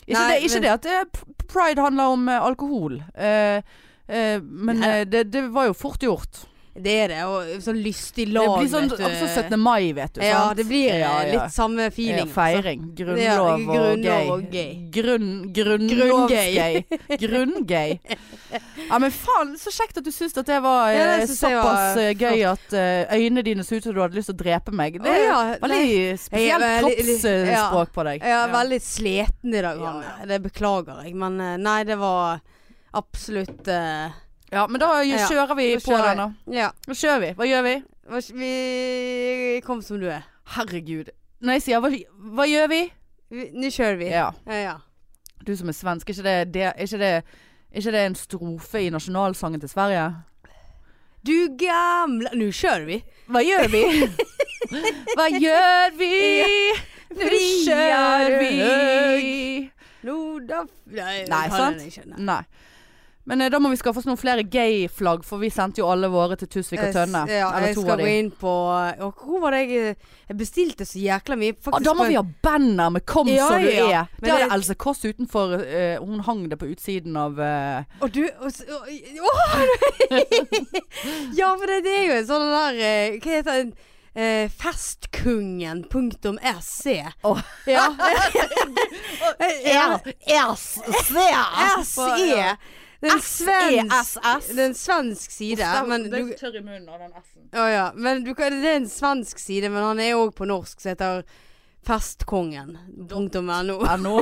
[SPEAKER 2] Ikke,
[SPEAKER 1] Nei,
[SPEAKER 2] det, ikke
[SPEAKER 1] men-
[SPEAKER 2] det at eh, p- pride handler om eh, alkohol, eh, eh, men
[SPEAKER 1] Nei.
[SPEAKER 2] eh, det, det var jo fort gjort.
[SPEAKER 1] Det er det. Og sånn lystig
[SPEAKER 2] Det
[SPEAKER 1] lag,
[SPEAKER 2] blir sånn
[SPEAKER 1] vet du.
[SPEAKER 2] altså 17. mai, vet du.
[SPEAKER 1] ja,
[SPEAKER 2] sant?
[SPEAKER 1] det blir eh,
[SPEAKER 2] Ja, ja.
[SPEAKER 1] litt samme feeling. altså.
[SPEAKER 2] Ja, Eh, feiring. Grunnlov,
[SPEAKER 1] Ja,
[SPEAKER 2] og gay.
[SPEAKER 1] grunnlov og gay.
[SPEAKER 2] Grunn, grunnlovsgay. Grunngay. Ja, men faen, så kjekt at du syns at det var eh,
[SPEAKER 1] Ja, det synes jeg var
[SPEAKER 2] såpass eh, gøy at eh, øynene dine så ut som du hadde lyst til å drepe meg. Det
[SPEAKER 1] Å,
[SPEAKER 2] er
[SPEAKER 1] ja,
[SPEAKER 2] veldig
[SPEAKER 1] Jeg er
[SPEAKER 2] spesielt
[SPEAKER 1] veldig- ja.
[SPEAKER 2] kroppsspråk på deg.
[SPEAKER 1] altså. Ja, veldig sliten i dag,
[SPEAKER 2] Ja,
[SPEAKER 1] Hanne. Det beklager jeg, men eh, nei, det var absolutt eh,
[SPEAKER 2] Ja, men da
[SPEAKER 1] Ja.
[SPEAKER 2] kjører vi
[SPEAKER 1] Da
[SPEAKER 2] på
[SPEAKER 1] kjører
[SPEAKER 2] den, da.
[SPEAKER 1] Ja.
[SPEAKER 2] Nå kjører vi. Hva gjør vi?
[SPEAKER 1] Var ikke- Vi kom som du er.
[SPEAKER 2] Herregud. Når jeg sier hva, hva gjør vi?
[SPEAKER 1] Vi- Nå kjører vi.
[SPEAKER 2] Ja.
[SPEAKER 1] Ja, ja.
[SPEAKER 2] Du som er svensk, er ikke det, det, er ikke det, er ikke det en strofe i nasjonalsangen til Sverige?
[SPEAKER 1] Du gamla Nå kjører vi.
[SPEAKER 2] Hva gjør vi? Hva gjør vi? Nå kjører vi.
[SPEAKER 1] Nordaf... Nei,
[SPEAKER 2] Nei, sant?
[SPEAKER 1] sant?
[SPEAKER 2] Nei. Men eh, da må vi skaffe oss noen flere gay-flagg, for vi sendte jo alle våre til Tusvik og Tønne.
[SPEAKER 1] Eh, Ja,
[SPEAKER 2] eller
[SPEAKER 1] jeg
[SPEAKER 2] to
[SPEAKER 1] skal
[SPEAKER 2] av
[SPEAKER 1] gå
[SPEAKER 2] de.
[SPEAKER 1] inn på eh, og Hvor var det jeg Jeg bestilte så jækla mye.
[SPEAKER 2] Ah, da må vi ha banner med 'kom
[SPEAKER 1] Ja,
[SPEAKER 2] så du
[SPEAKER 1] ja, ja.
[SPEAKER 2] er'.
[SPEAKER 1] Men
[SPEAKER 2] Det hadde
[SPEAKER 1] det-
[SPEAKER 2] Else Kåss utenfor. eh, hun hang det på utsiden av eh,
[SPEAKER 1] Og du og, s- og, Åh! Ja, for det, det er jo en sånn der eh, Hva heter den? Eh, Festkungen.sc.
[SPEAKER 2] Åh.
[SPEAKER 1] Ja.
[SPEAKER 2] Ja. E,
[SPEAKER 1] SE. Den svensk,
[SPEAKER 2] SESS.
[SPEAKER 1] det er en svensk side. Men du,
[SPEAKER 2] tørr i munnen av den S-en.
[SPEAKER 1] Å ja. Men du, kan- det er en svensk side, men han er òg på norsk, så heter festkongen.no.
[SPEAKER 2] Ennå.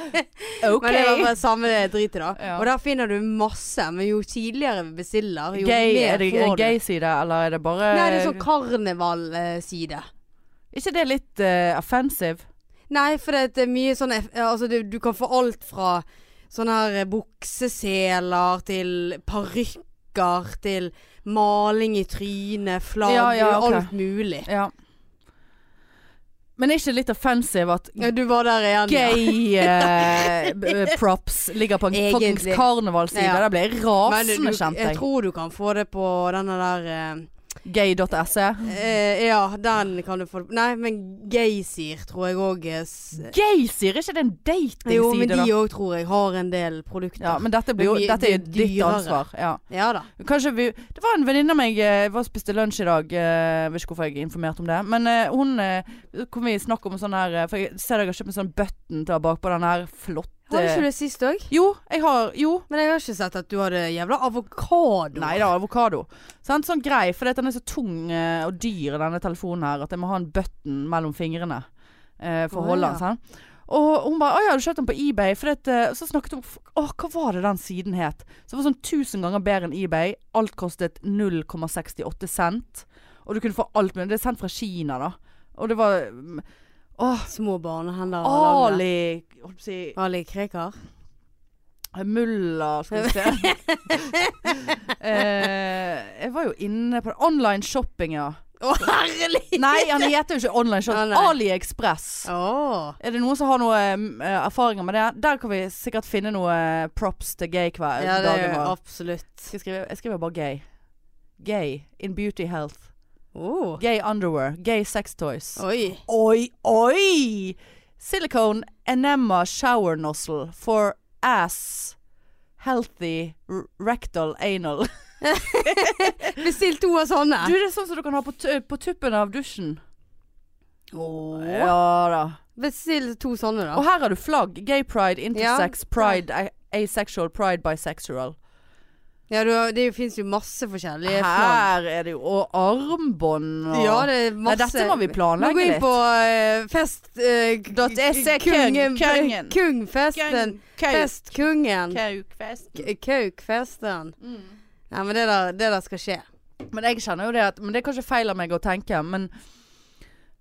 [SPEAKER 2] OK.
[SPEAKER 1] Men det var bare samme det drit i da.
[SPEAKER 2] Ja.
[SPEAKER 1] Og der finner du masse, men jo tidligere vi bestiller, jo
[SPEAKER 2] Gay,
[SPEAKER 1] mer
[SPEAKER 2] er det
[SPEAKER 1] får
[SPEAKER 2] en
[SPEAKER 1] du.
[SPEAKER 2] gay-side, eller er det bare
[SPEAKER 1] Nei, det er sånn karnevalside.
[SPEAKER 2] ikke det litt eh, offensive?
[SPEAKER 1] Nei, for det er mye sånn eh, Altså, du, du kan få alt fra sånne her eh, bukseseler til parykker til maling i trynet, flagg,
[SPEAKER 2] Ja, ja, ok.
[SPEAKER 1] alt mulig.
[SPEAKER 2] Ja. Men er ikke det litt offensive at
[SPEAKER 1] Ja, du var der igjen. ja.
[SPEAKER 2] gay eh, b- eh, props ligger på en
[SPEAKER 1] Egentlig.
[SPEAKER 2] fuckings karnevalside?
[SPEAKER 1] Ja.
[SPEAKER 2] Der ble jeg
[SPEAKER 1] Men du,
[SPEAKER 2] rasende, kjente
[SPEAKER 1] jeg
[SPEAKER 2] jeg.
[SPEAKER 1] tror du kan få det på denne der eh,
[SPEAKER 2] Gay.se.
[SPEAKER 1] eh, Ja, den kan du få det på. Nei, men Geysir tror jeg òg
[SPEAKER 2] Gay sier ikke det er en
[SPEAKER 1] Eh. Jo,
[SPEAKER 2] datingside,
[SPEAKER 1] men de
[SPEAKER 2] da?
[SPEAKER 1] òg tror jeg har en del produkter.
[SPEAKER 2] Ja, men dette blir jo
[SPEAKER 1] Men de-
[SPEAKER 2] Dette er
[SPEAKER 1] de er
[SPEAKER 2] ditt
[SPEAKER 1] dyrere.
[SPEAKER 2] ansvar. Ja.
[SPEAKER 1] Ja da.
[SPEAKER 2] Kanskje vi Det var en venninne av meg eh, var og spiste lunsj i dag. eh, vet ikke hvorfor jeg informerte om det. Men eh, hun eh, kom vi i snakk om sånn her eh, For jeg ser dere har kjøpt en sånn button til å ha bakpå den her flotte
[SPEAKER 1] Har du ikke det sist òg?
[SPEAKER 2] Jo, jeg har Jo.
[SPEAKER 1] Men jeg har ikke sett at du hadde jævla avokado.
[SPEAKER 2] Nei da, avokado. Sant? Sånn grei, for den er så tung eh, og dyr, denne telefonen her, at jeg må ha en button mellom fingrene eh, for
[SPEAKER 1] Å,
[SPEAKER 2] å holde
[SPEAKER 1] ja.
[SPEAKER 2] den. Sant? Og hun bare 'Å ja, du kjøpte den på eBay?' For det, eh, så snakket hun f- Å, hva var det den siden het? Så det var sånn 1000 ganger bedre enn eBay. Alt kostet 0,68 cent. Og du kunne få alt mulig. Det er sendt fra Kina, da. Og det var mm, Åh,
[SPEAKER 1] Små barnehender. og lange.
[SPEAKER 2] Ah, Ali Holdt på å si
[SPEAKER 1] Ali Krekar.
[SPEAKER 2] Mulla, skal vi se. eh, jeg var jo inne på online shopping, ja.
[SPEAKER 1] Å, herlig!
[SPEAKER 2] Nei, han heter jo ikke online
[SPEAKER 1] Å,
[SPEAKER 2] shopping.
[SPEAKER 1] nei.
[SPEAKER 2] AliExpress.
[SPEAKER 1] Åh.
[SPEAKER 2] Er det noen som har noen erfaringer med det? Der kan vi sikkert finne noe eh, props til gay-kveld.
[SPEAKER 1] Ja, det er
[SPEAKER 2] dagen
[SPEAKER 1] jo
[SPEAKER 2] vår.
[SPEAKER 1] absolutt.
[SPEAKER 2] Skal jeg, skrive, jeg skriver bare gay. Gay in beauty health.
[SPEAKER 1] Åh.
[SPEAKER 2] Gay underwear. Gay sex toys.
[SPEAKER 1] Oi.
[SPEAKER 2] Oi, oi! Silicone enema shower nozzle for ass healthy r- rectal anal.
[SPEAKER 1] Bestill to av sånne.
[SPEAKER 2] Du, det er sånn som du kan ha på, tu- på tuppen av dusjen.
[SPEAKER 1] Åh.
[SPEAKER 2] Ja da.
[SPEAKER 1] Bestill to sånne,
[SPEAKER 2] Og
[SPEAKER 1] da.
[SPEAKER 2] her har du flagg. Gay pride, intersex pride, a- asexual pride, bisexual.
[SPEAKER 1] Ja, du, har- det fins jo masse forskjellige flagg.
[SPEAKER 2] Her er det jo Og armbånd og
[SPEAKER 1] Ja, det er
[SPEAKER 2] Nei,
[SPEAKER 1] masse
[SPEAKER 2] dette må vi
[SPEAKER 1] Nå
[SPEAKER 2] planlegge
[SPEAKER 1] går jeg
[SPEAKER 2] litt.
[SPEAKER 1] inn på eh, fest... eh, k-
[SPEAKER 2] Dot E, SE,
[SPEAKER 1] kungen-
[SPEAKER 2] kungen.
[SPEAKER 1] Kungfesten. Festkungen.
[SPEAKER 2] Kaukfest.
[SPEAKER 1] K- Kaukfesten.
[SPEAKER 2] Mm.
[SPEAKER 1] Ja, men det der, det der skal skje.
[SPEAKER 2] Men jeg kjenner jo det at Men det er kanskje feil av meg å tenke, men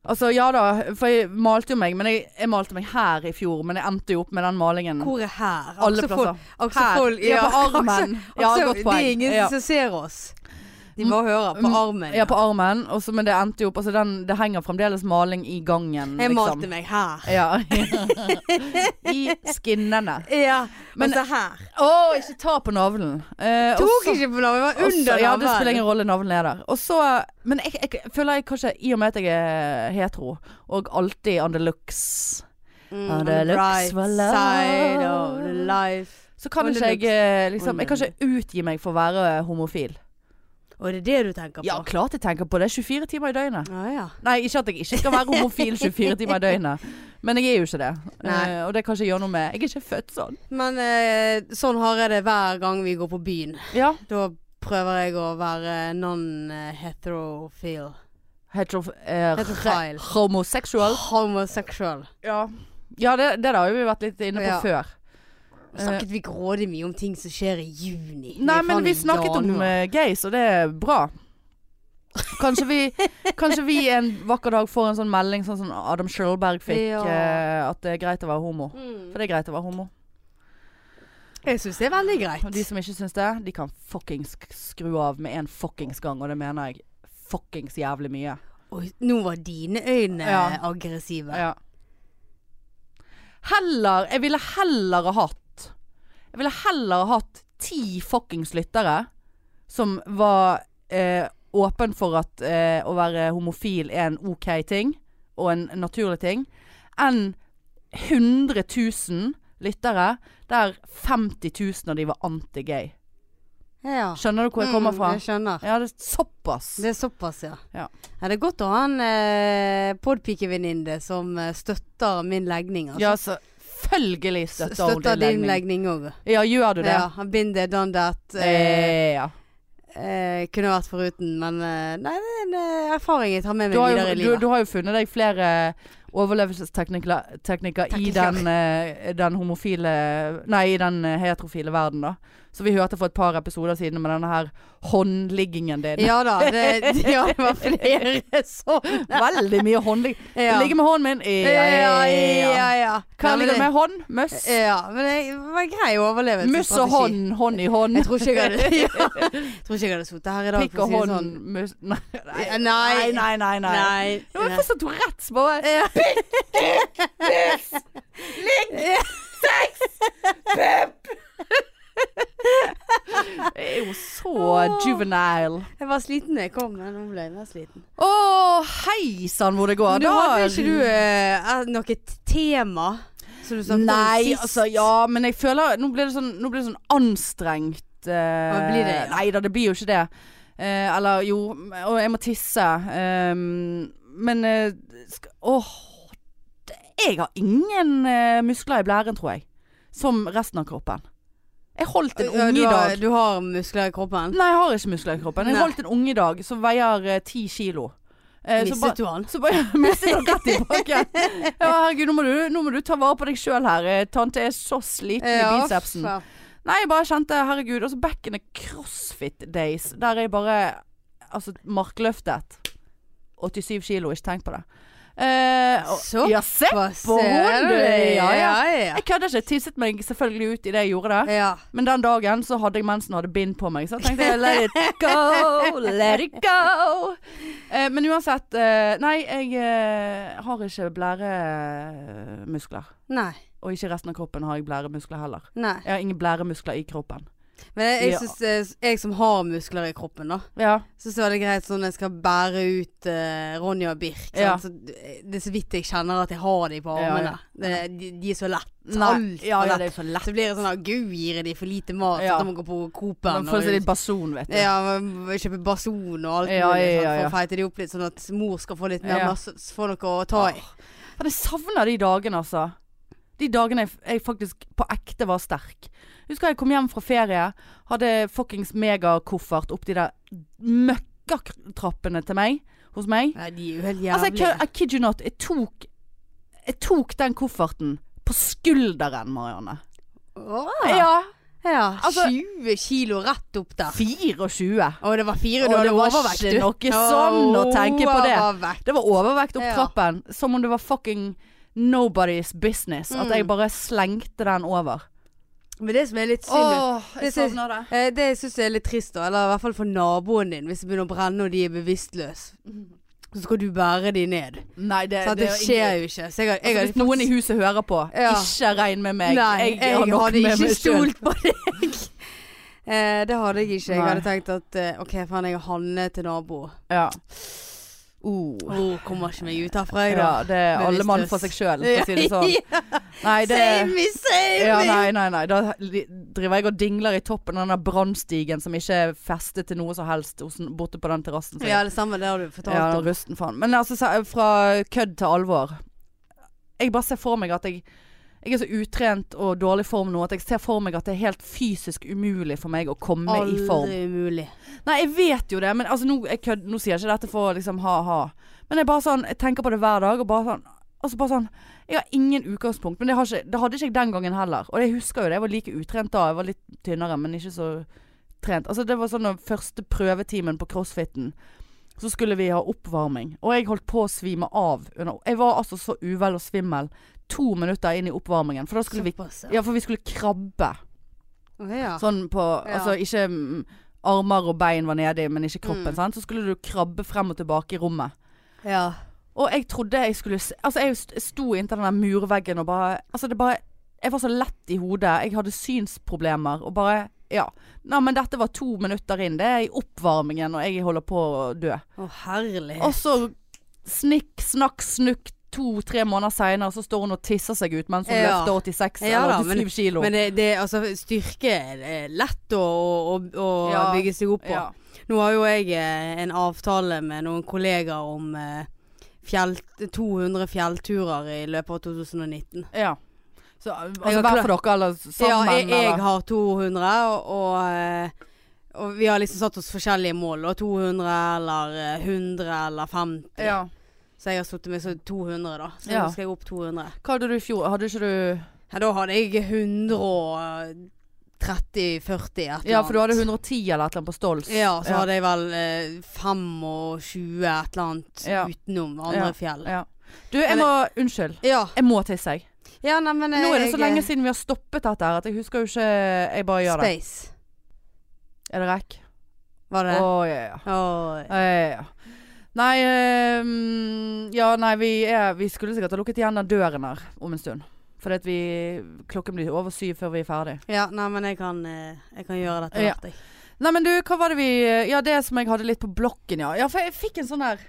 [SPEAKER 2] Altså, ja da, for jeg malte jo meg, men jeg, jeg malte meg her i fjor, men jeg endte jo opp med den malingen.
[SPEAKER 1] Hvor er her?
[SPEAKER 2] Mm. Alle
[SPEAKER 1] Aksefol-
[SPEAKER 2] plasser.
[SPEAKER 1] Aksefol-
[SPEAKER 2] Her. Ja, på armen.
[SPEAKER 1] Akse-
[SPEAKER 2] Ja,
[SPEAKER 1] akse-
[SPEAKER 2] godt
[SPEAKER 1] Det er
[SPEAKER 2] poeng.
[SPEAKER 1] ingen
[SPEAKER 2] Ja.
[SPEAKER 1] som ser oss. De bare hører på
[SPEAKER 2] Mm,
[SPEAKER 1] armen.
[SPEAKER 2] Ja, på armen, og så- men det endte jo opp Altså, den, det henger fremdeles maling i gangen,
[SPEAKER 1] jeg malte
[SPEAKER 2] liksom.
[SPEAKER 1] meg her.
[SPEAKER 2] Ja. I skinnene.
[SPEAKER 1] Ja,
[SPEAKER 2] Men-
[SPEAKER 1] men se her.
[SPEAKER 2] Å, ikke ta på navlen. Eh, og
[SPEAKER 1] Tok
[SPEAKER 2] så-
[SPEAKER 1] ikke på navnet, var
[SPEAKER 2] og så-
[SPEAKER 1] under
[SPEAKER 2] Ja, det spiller
[SPEAKER 1] navlen.
[SPEAKER 2] ingen rolle, navlen er der. Og så Men jeg, jeg føler jeg kanskje, i og med at jeg er hetero, og alltid on the looks
[SPEAKER 1] Mm,
[SPEAKER 2] Ja,
[SPEAKER 1] on
[SPEAKER 2] det
[SPEAKER 1] the
[SPEAKER 2] looks
[SPEAKER 1] bright
[SPEAKER 2] for
[SPEAKER 1] side
[SPEAKER 2] love.
[SPEAKER 1] of the life.
[SPEAKER 2] Så kan
[SPEAKER 1] Under
[SPEAKER 2] ikke jeg eh, liksom
[SPEAKER 1] Under
[SPEAKER 2] Jeg kan ikke utgi meg for å være homofil.
[SPEAKER 1] Og det er det du tenker på?
[SPEAKER 2] Ja, klart jeg tenker på det. 24 timer i døgnet.
[SPEAKER 1] Ah, ja.
[SPEAKER 2] Nei, ikke at jeg ikke skal være homofil 24 timer i døgnet. Men jeg er jo ikke det.
[SPEAKER 1] Nei.
[SPEAKER 2] Eh, og det kan ikke gjøre noe med. Jeg er ikke født sånn.
[SPEAKER 1] Men eh, sånn har jeg det hver gang vi går på byen.
[SPEAKER 2] Ja.
[SPEAKER 1] Da prøver jeg å være non-heterofil.
[SPEAKER 2] Hetero, eh,
[SPEAKER 1] Heterofil.
[SPEAKER 2] re- Homosexual.
[SPEAKER 1] Homosexual.
[SPEAKER 2] Ja, ja det, det har vi vært litt inne på
[SPEAKER 1] Ja.
[SPEAKER 2] før.
[SPEAKER 1] Snakket vi grådig mye om ting som skjer i juni?
[SPEAKER 2] Eh. Nei,
[SPEAKER 1] er
[SPEAKER 2] men
[SPEAKER 1] faen
[SPEAKER 2] vi
[SPEAKER 1] i
[SPEAKER 2] snakket om
[SPEAKER 1] januar.
[SPEAKER 2] eh, gays, og det er bra. Kanskje vi, kanskje vi en vakker dag får en sånn melding sånn som Adam Schjølberg fikk,
[SPEAKER 1] Ja.
[SPEAKER 2] eh, at det er greit å være homo. For det er greit å være homo.
[SPEAKER 1] Jeg syns det er veldig greit.
[SPEAKER 2] Og de som ikke syns det, de kan fuckings skru av med en fuckings gang, og det mener jeg fuckings jævlig mye.
[SPEAKER 1] Oi, nå var dine øyne
[SPEAKER 2] Ja.
[SPEAKER 1] aggressive.
[SPEAKER 2] Ja. Heller Jeg ville heller ha hatt Jeg ville heller ha hatt ti fuckings lyttere som var eh, åpen for at eh, å være homofil er en ok ting, og en naturlig ting, enn 100 000 lyttere der 50 000 av de var anti-gay.
[SPEAKER 1] Ja.
[SPEAKER 2] Skjønner du hvor jeg kommer
[SPEAKER 1] Mm,
[SPEAKER 2] fra?
[SPEAKER 1] Jeg skjønner.
[SPEAKER 2] Ja, det er såpass.
[SPEAKER 1] Det er såpass, ja.
[SPEAKER 2] Ja.
[SPEAKER 1] det er godt å ha en eh, podpikevenninne som eh, støtter min legning. Altså.
[SPEAKER 2] Ja, selvfølgelig støtter,
[SPEAKER 1] støtter
[SPEAKER 2] hun din legning.
[SPEAKER 1] legning òg.
[SPEAKER 2] Ja, gjør du det?
[SPEAKER 1] Ja, I've been there, done that. Eh,
[SPEAKER 2] Eh, ja.
[SPEAKER 1] eh, kunne vært foruten, men eh, nei, det er en eh, erfaring jeg tar med
[SPEAKER 2] du
[SPEAKER 1] meg
[SPEAKER 2] har,
[SPEAKER 1] videre
[SPEAKER 2] jo,
[SPEAKER 1] i
[SPEAKER 2] du,
[SPEAKER 1] livet.
[SPEAKER 2] du har jo funnet deg flere overlevelsesteknikker teknikker i
[SPEAKER 1] Teknikker.
[SPEAKER 2] den, eh, den homofile Nei, i den eh, heterofile verden, da. Så vi hørte for et par episoder siden med denne her håndliggingen din.
[SPEAKER 1] Ja da, det, ja, det var flere sånne.
[SPEAKER 2] Veldig mye håndligg...
[SPEAKER 1] Ja.
[SPEAKER 2] Ligge med hånden min.
[SPEAKER 1] ja, ja, ja, ja.
[SPEAKER 2] Hva
[SPEAKER 1] Nei, men
[SPEAKER 2] ligger
[SPEAKER 1] det-
[SPEAKER 2] med hånd? Møss.
[SPEAKER 1] Ja, men det var en grei overlevelsesstrategi.
[SPEAKER 2] Møss og hånd, hånd i hånd.
[SPEAKER 1] Jeg tror ikke jeg hadde ja. Jeg tror ikke jeg hadde sittet her i dag.
[SPEAKER 2] Pikk
[SPEAKER 1] for å
[SPEAKER 2] og
[SPEAKER 1] si det
[SPEAKER 2] hånd.
[SPEAKER 1] sånn.
[SPEAKER 2] Møss Nei,
[SPEAKER 1] Ja,
[SPEAKER 2] nei,
[SPEAKER 1] nei.
[SPEAKER 2] nei. nei, nei. Det var
[SPEAKER 1] Nei.
[SPEAKER 2] først at Tourettes bare
[SPEAKER 1] Ja.
[SPEAKER 2] Det er jo så juvenile.
[SPEAKER 1] Jeg var sliten da jeg kom, men nå ble jeg mer sliten.
[SPEAKER 2] Å, hei sann hvor det går.
[SPEAKER 1] Men du hadde
[SPEAKER 2] Da-
[SPEAKER 1] ikke du eh, eh, noe t- tema som du snakket om
[SPEAKER 2] Nei,
[SPEAKER 1] sist?
[SPEAKER 2] altså ja, men jeg føler Nå blir det sånn, nå blir det sånn anstrengt. eh,
[SPEAKER 1] Ja, blir det, ja.
[SPEAKER 2] Nei da, det blir jo ikke det. Eh, eller jo, og jeg må tisse. ehm, men eh, sk- Åh. det- jeg har ingen eh, muskler i blæren, tror jeg. Som resten av kroppen. Jeg holdt en
[SPEAKER 1] Ja,
[SPEAKER 2] unge
[SPEAKER 1] du,
[SPEAKER 2] i
[SPEAKER 1] har,
[SPEAKER 2] dag.
[SPEAKER 1] du har muskler i kroppen?
[SPEAKER 2] Nei, jeg har ikke muskler i kroppen. Jeg
[SPEAKER 1] Nei.
[SPEAKER 2] holdt en unge i dag som veier ti kilo. Eh, så ba-
[SPEAKER 1] Mistet du han?
[SPEAKER 2] så bare mistet han rett i bakken. Ja, herregud, nå må, du, nå må du ta vare på deg sjøl her. Eh, Tante er så sliten i bicepsen.
[SPEAKER 1] faen.
[SPEAKER 2] Nei, jeg bare kjente herregud. Og så back in the crossfit days, der jeg bare Altså, markløftet. 87 kilo, ikke tenk på det. Eh, og-
[SPEAKER 1] Så
[SPEAKER 2] Ja, se
[SPEAKER 1] Hva
[SPEAKER 2] på
[SPEAKER 1] ser
[SPEAKER 2] hun,
[SPEAKER 1] du?
[SPEAKER 2] du! Ja, ja.
[SPEAKER 1] ja.
[SPEAKER 2] Jeg kødder ikke. Jeg Tisset meg selvfølgelig ut idet jeg gjorde det.
[SPEAKER 1] ja.
[SPEAKER 2] Men den dagen så hadde jeg mensen og hadde bind på meg. Så jeg tenkte jeg let it go, let it go. Eh, men uansett. Eh, nei, jeg eh, har ikke blæremuskler.
[SPEAKER 1] Nei.
[SPEAKER 2] Og ikke resten av kroppen har jeg blæremuskler heller.
[SPEAKER 1] Nei.
[SPEAKER 2] Jeg har ingen blæremuskler i kroppen.
[SPEAKER 1] Men jeg, jeg
[SPEAKER 2] Ja.
[SPEAKER 1] synes, eh, jeg som har muskler i kroppen, da.
[SPEAKER 2] Ja.
[SPEAKER 1] Syns det var litt greit sånn jeg skal bære ut eh, Ronja og Birk. sant?
[SPEAKER 2] Ja.
[SPEAKER 1] Så eh, det er så vidt jeg kjenner at jeg har de på
[SPEAKER 2] Ja, ja.
[SPEAKER 1] armene. Det, de, de er så lett.
[SPEAKER 2] Nei,
[SPEAKER 1] Alt
[SPEAKER 2] ja,
[SPEAKER 1] for
[SPEAKER 2] ja,
[SPEAKER 1] lett.
[SPEAKER 2] det er for lett.
[SPEAKER 1] Så blir det sånn at gud gir jeg de for lite mat,
[SPEAKER 2] Ja.
[SPEAKER 1] så da må jeg gå på
[SPEAKER 2] Man
[SPEAKER 1] Coop-en
[SPEAKER 2] får seg
[SPEAKER 1] og
[SPEAKER 2] litt bason, vet du.
[SPEAKER 1] ja, man må kjøpe bason og alt mulig
[SPEAKER 2] Ja, ja,
[SPEAKER 1] sant,
[SPEAKER 2] ja,
[SPEAKER 1] for
[SPEAKER 2] ja.
[SPEAKER 1] å feite de opp litt, sånn at mor skal få litt mer
[SPEAKER 2] Ja.
[SPEAKER 1] masse, få noe å ta i.
[SPEAKER 2] Men jeg savner de dagene, altså. De dagene jeg, jeg faktisk på ekte var sterk. Husker jeg kom hjem fra ferie, hadde fuckings megakoffert opp de der møkkatrappene til meg, hos meg.
[SPEAKER 1] Nei, de er jo helt
[SPEAKER 2] Altså, jeg,
[SPEAKER 1] jævlige.
[SPEAKER 2] kø- I kid you not, jeg tok, jeg tok den kofferten på skulderen, Marianne.
[SPEAKER 1] Åh, ja.
[SPEAKER 2] Ja, altså-
[SPEAKER 1] 20 kilo rett opp der.
[SPEAKER 2] 24.
[SPEAKER 1] Å, det var fire,
[SPEAKER 2] Å,
[SPEAKER 1] du hadde
[SPEAKER 2] det var
[SPEAKER 1] overvekt,
[SPEAKER 2] ikke
[SPEAKER 1] du.
[SPEAKER 2] noe sånn å tenke på det.
[SPEAKER 1] Overvekt.
[SPEAKER 2] Det var overvekt opp
[SPEAKER 1] Ja.
[SPEAKER 2] trappen, som om det var fucking nobody's business. At
[SPEAKER 1] Mm.
[SPEAKER 2] jeg bare slengte den over.
[SPEAKER 1] Men det som er litt synd med-
[SPEAKER 2] Åh, jeg
[SPEAKER 1] Det synes-
[SPEAKER 2] savner det.
[SPEAKER 1] Eh, Det syns jeg er litt trist, da. Eller i hvert fall for naboen din, hvis det begynner å brenne og de er bevisstløse. Så skal du bære de ned.
[SPEAKER 2] Nei, Eh, det,
[SPEAKER 1] Så det,
[SPEAKER 2] er
[SPEAKER 1] skjer jo ikke. Så jeg, har- jeg,
[SPEAKER 2] Altså,
[SPEAKER 1] hadde
[SPEAKER 2] hvis noen i
[SPEAKER 1] faktisk-
[SPEAKER 2] huset hører på,
[SPEAKER 1] Ja.
[SPEAKER 2] ikke regn med meg.
[SPEAKER 1] Nei, jeg,
[SPEAKER 2] har nok
[SPEAKER 1] hadde
[SPEAKER 2] med
[SPEAKER 1] ikke
[SPEAKER 2] meg selv.
[SPEAKER 1] stolt på deg. Eh, det hadde jeg ikke. Jeg
[SPEAKER 2] Nei. Oh.
[SPEAKER 1] hadde tenkt at eh, OK, faen, jeg er Hanne til nabo.
[SPEAKER 2] Ja. Uh.
[SPEAKER 1] Oh, kommer ikke meg ut herfra, jeg,
[SPEAKER 2] Ja,
[SPEAKER 1] da.
[SPEAKER 2] det er alle mann
[SPEAKER 1] Bevisstløs.
[SPEAKER 2] for seg sjøl, for å si det sånn. Nei, det
[SPEAKER 1] Save me, save
[SPEAKER 2] ja,
[SPEAKER 1] me!
[SPEAKER 2] nei, nei, nei. Da li- driver jeg og dingler i toppen av den der brannstigen som ikke er festet til noe som helst hos- borte på den terrassen. som jeg-
[SPEAKER 1] Ja, det samme, det har du fortalt
[SPEAKER 2] Ja,
[SPEAKER 1] om.
[SPEAKER 2] rusten faen. Men altså, sa- fra kødd til alvor. Jeg bare ser for meg at jeg jeg er så utrent og dårlig form nå at jeg ser for meg at det er helt fysisk umulig for meg å komme i form.
[SPEAKER 1] Aldri mulig.
[SPEAKER 2] Nei, jeg vet jo det, men altså, nå, jeg kødd, nå sier jeg ikke dette for å liksom ha-ha. Men jeg bare sånn, jeg tenker på det hver dag, og bare sånn Altså bare sånn, Jeg har ingen utgangspunkt, men det, har ikke, det hadde ikke jeg den gangen heller. Og jeg husker jo det, jeg var like utrent da. Jeg var litt tynnere, men ikke så trent. Altså Det var sånn den første prøvetimen på crossfiten. Så skulle vi ha oppvarming, og jeg holdt på å svime av. under- Jeg var altså så uvel og svimmel to minutter inn i oppvarmingen, for da skulle vi
[SPEAKER 1] Såpass, ja.
[SPEAKER 2] Ja, for vi skulle krabbe.
[SPEAKER 1] Ok, ja.
[SPEAKER 2] Sånn på
[SPEAKER 1] Ja.
[SPEAKER 2] Altså ikke mm, armer og bein var nedi, men ikke kroppen.
[SPEAKER 1] Mm.
[SPEAKER 2] Sant? Så skulle du krabbe frem og tilbake i rommet.
[SPEAKER 1] ja.
[SPEAKER 2] Og jeg trodde jeg skulle s- Altså, jeg st- sto inntil den der murveggen og bare Altså, det bare Jeg var så lett i hodet. Jeg hadde synsproblemer og bare Ja. Nei, men dette var to minutter inn. Det er i oppvarmingen, og jeg holder på å dø.
[SPEAKER 1] Å, herlig.
[SPEAKER 2] Og så snikk, snakk, snukk. To-tre måneder seinere så står hun og tisser seg ut mens hun
[SPEAKER 1] Ja.
[SPEAKER 2] løfter 86
[SPEAKER 1] Ja da,
[SPEAKER 2] eller 87 kilo.
[SPEAKER 1] Men det, det, altså, styrke er lett å, å, å
[SPEAKER 2] Ja.
[SPEAKER 1] bygge seg opp på.
[SPEAKER 2] ja.
[SPEAKER 1] Nå har jo jeg eh, en avtale med noen kollegaer om eh, fjell, 200 fjellturer i løpet av 2019.
[SPEAKER 2] Ja. Så
[SPEAKER 1] Jeg
[SPEAKER 2] altså,
[SPEAKER 1] har
[SPEAKER 2] hver
[SPEAKER 1] klart-
[SPEAKER 2] for dere, eller sammen?
[SPEAKER 1] ja, jeg, jeg
[SPEAKER 2] eller?
[SPEAKER 1] har 200, og, og, eh, og vi har liksom satt oss forskjellige mål. Og 200 eller eh, 100 eller 50.
[SPEAKER 2] ja.
[SPEAKER 1] Så jeg har satt meg så 200, da. Så
[SPEAKER 2] Ja.
[SPEAKER 1] nå skal jeg opp 200.
[SPEAKER 2] Hva hadde du i fjor? Hadde ikke du
[SPEAKER 1] Ja, da hadde jeg 130-40 et eller annet.
[SPEAKER 2] Ja, for du hadde 110 eller et eller annet på Stolz.
[SPEAKER 1] Ja, så
[SPEAKER 2] ja.
[SPEAKER 1] hadde jeg vel eh, 25 et eller annet
[SPEAKER 2] Ja.
[SPEAKER 1] utenom andre
[SPEAKER 2] Ja.
[SPEAKER 1] fjell.
[SPEAKER 2] Ja. Du, jeg må Unnskyld.
[SPEAKER 1] Ja.
[SPEAKER 2] Jeg må tisse, jeg.
[SPEAKER 1] ja nei, men eh,
[SPEAKER 2] Nå er det så lenge siden vi har stoppet dette her at jeg husker jo ikke Jeg bare gjør det.
[SPEAKER 1] Space.
[SPEAKER 2] Er det rekk? Å,
[SPEAKER 1] Var det det?
[SPEAKER 2] ja, ja.
[SPEAKER 1] Åh,
[SPEAKER 2] Ja, ja, ja. Nei ehm, Ja, nei, vi, er, vi skulle sikkert ha lukket igjen den døren her om en stund. Fordi at vi Klokken blir over syv før vi er ferdig.
[SPEAKER 1] Ja, nei, men jeg kan, eh, jeg kan gjøre dette
[SPEAKER 2] Ja.
[SPEAKER 1] hvert, jeg.
[SPEAKER 2] Nei, men du, hva var det vi Ja, det som jeg hadde litt på blokken, ja. Ja, for jeg fikk en sånn der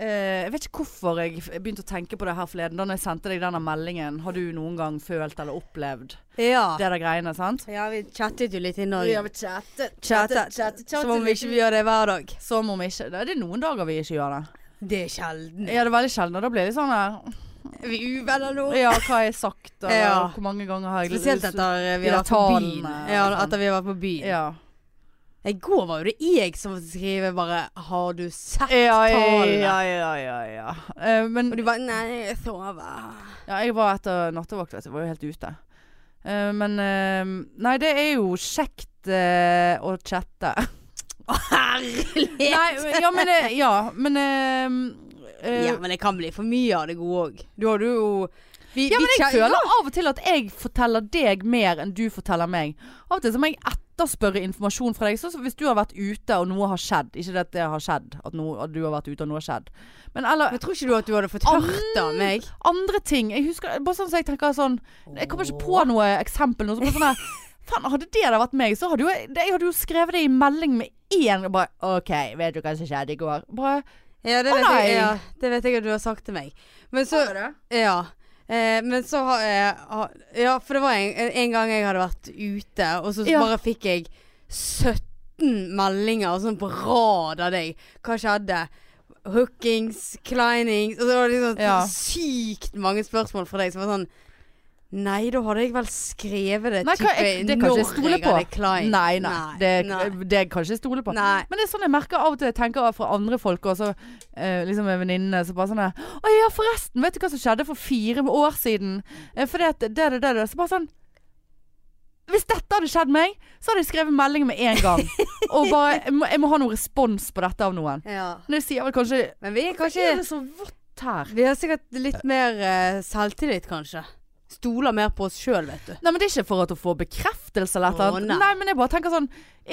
[SPEAKER 2] eh, Jeg vet ikke hvorfor jeg f- jeg begynte å tenke på det her forleden. Da når jeg sendte deg denne meldingen. Har du noen gang følt eller opplevd
[SPEAKER 1] Ja.
[SPEAKER 2] det der greiene, sant?
[SPEAKER 1] ja, vi chattet jo litt i
[SPEAKER 2] Vi har
[SPEAKER 1] Norge.
[SPEAKER 2] vel chattet.
[SPEAKER 1] Chattet. Som om vi ikke gjør det hver dag.
[SPEAKER 2] Som om ikke Det er noen dager vi ikke gjør det.
[SPEAKER 1] Det er sjelden.
[SPEAKER 2] Ja, det er veldig sjelden. Og da blir det litt sånn her
[SPEAKER 1] Er vi uvenner nå?
[SPEAKER 2] Ja, hva har jeg sagt? Og
[SPEAKER 1] Ja.
[SPEAKER 2] hvor mange ganger har jeg
[SPEAKER 1] Spesielt etter eh,
[SPEAKER 2] de
[SPEAKER 1] vi har vært på
[SPEAKER 2] tallene,
[SPEAKER 1] byen. eh, sånn. Ja,
[SPEAKER 2] liksom.
[SPEAKER 1] etter vi har vært på byen.
[SPEAKER 2] Ja.
[SPEAKER 1] I går var jo det jeg som skrev bare 'Har du sett
[SPEAKER 2] Ja, ja,
[SPEAKER 1] tallene?'
[SPEAKER 2] ja, ja, ja, ja. Eh, men
[SPEAKER 1] Og du bare 'Nei, jeg sover'.
[SPEAKER 2] Ja, jeg var etter nattevakt, vet du. Jeg var jo helt ute. Eh, men eh, Nei, det er jo kjekt eh, å chatte.
[SPEAKER 1] Herlig!
[SPEAKER 2] nei, ja, men eh, Ja, men eh, eh,
[SPEAKER 1] Ja, men det kan bli for mye av det gode òg. Du hadde jo vi,
[SPEAKER 2] Ja,
[SPEAKER 1] vi
[SPEAKER 2] men jeg
[SPEAKER 1] kjen-
[SPEAKER 2] føler av og til at jeg forteller deg mer enn du forteller meg. Av og til så må jeg etterspørre informasjon fra deg. Sånn som hvis du har vært ute og noe har skjedd. Ikke det at det har skjedd, at, noe, at du har vært ute og noe har skjedd. Men eller
[SPEAKER 1] Men tror ikke du at du hadde fått hørt av meg?
[SPEAKER 2] andre ting. Jeg husker Bare sånn som jeg tenker sånn Jeg kommer ikke på noe eksempel nå. så bare Sånn her, Faen, hadde det da vært meg, så hadde jo jeg, det- jeg hadde jo skrevet det i melding med én. Og bare OK, vet du hva som skjedde i går? Bare
[SPEAKER 1] Ja, det
[SPEAKER 2] Å,
[SPEAKER 1] vet, jeg,
[SPEAKER 2] nei.
[SPEAKER 1] ja, det vet jeg at du har sagt til meg. Men så Ja. Eh, men så har jeg har- Ja, for det var en, en gang jeg hadde vært ute, og så
[SPEAKER 2] Ja.
[SPEAKER 1] bare fikk jeg 17 meldinger sånn på rad av deg. Hva skjedde? Hookings, clinings Og så var det liksom
[SPEAKER 2] Ja.
[SPEAKER 1] sykt mange spørsmål fra deg som var sånn Nei, da hadde jeg vel skrevet det
[SPEAKER 2] Nei, hva,
[SPEAKER 1] type
[SPEAKER 2] jeg, det kan
[SPEAKER 1] når
[SPEAKER 2] ikke jeg stole på.
[SPEAKER 1] hadde clined.
[SPEAKER 2] Nei, nei, Det,
[SPEAKER 1] nei.
[SPEAKER 2] det kan ikke jeg stole på.
[SPEAKER 1] Nei.
[SPEAKER 2] Men det er sånn jeg merker av og til. Jeg tenker fra andre folk også. Eh, liksom en venninne som bare sånn her, Å ja, forresten. Vet du hva som skjedde for fire år siden? Eh, fordi at det, det, det, det. Så bare sånn Hvis dette hadde skjedd meg, så hadde jeg skrevet melding med en gang. og bare jeg må, jeg må ha noen respons på dette av noen.
[SPEAKER 1] Ja.
[SPEAKER 2] Men jeg sier vel kanskje eh,
[SPEAKER 1] Men vi er
[SPEAKER 2] Kanskje er
[SPEAKER 1] kanskje
[SPEAKER 2] det så vått her?
[SPEAKER 1] Vi har sikkert litt mer eh, selvtillit, kanskje. Stoler mer på oss sjøl, vet du.
[SPEAKER 2] Nei, men det er ikke for at hun får bekreftelse eller et eller
[SPEAKER 1] Å,
[SPEAKER 2] annet.
[SPEAKER 1] nei.
[SPEAKER 2] Nei. men jeg bare tenker sånn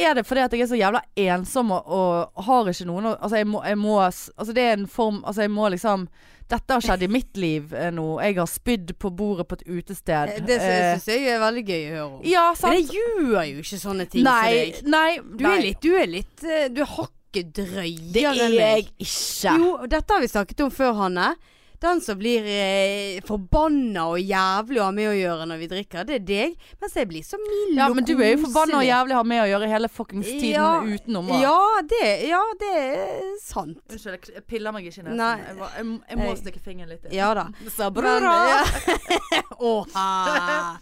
[SPEAKER 2] Er det fordi at jeg er så jævla ensom og, og har ikke noen å- Altså, jeg må, jeg må Altså, det er en form Altså, jeg må liksom Dette har skjedd i mitt liv eh, nå. Jeg har spydd på bordet på et utested.
[SPEAKER 1] Eh, Det syns jeg er veldig gøy å høre om.
[SPEAKER 2] Ja,
[SPEAKER 1] Men
[SPEAKER 2] Eh, sant.
[SPEAKER 1] jeg gjør jo ikke sånne ting
[SPEAKER 2] nei,
[SPEAKER 1] for deg.
[SPEAKER 2] nei.
[SPEAKER 1] Du er litt Du er litt eh, Du er hakket drøyere
[SPEAKER 2] Det er
[SPEAKER 1] enn
[SPEAKER 2] jeg
[SPEAKER 1] meg.
[SPEAKER 2] ikke.
[SPEAKER 1] Jo, og dette har vi snakket om før, Hanne. Den som blir eh, forbanna og jævlig å ha med å gjøre når vi drikker, det er deg. Mens jeg blir så mild
[SPEAKER 2] Ja,
[SPEAKER 1] og
[SPEAKER 2] men du er jo forbanna og
[SPEAKER 1] koselig.
[SPEAKER 2] jævlig har med å gjøre hele fuckings tiden
[SPEAKER 1] Ja.
[SPEAKER 2] utenom. og-
[SPEAKER 1] Ja, det, ja, det er sant.
[SPEAKER 2] Unnskyld, jeg- jeg piller meg ikke i nesen.
[SPEAKER 1] Nei.
[SPEAKER 2] Jeg, bare- jeg, jeg må
[SPEAKER 1] Jeg-
[SPEAKER 2] stikke fingeren litt i.
[SPEAKER 1] Ja da.
[SPEAKER 2] Så bra.
[SPEAKER 1] Men, ja. Åh, ha.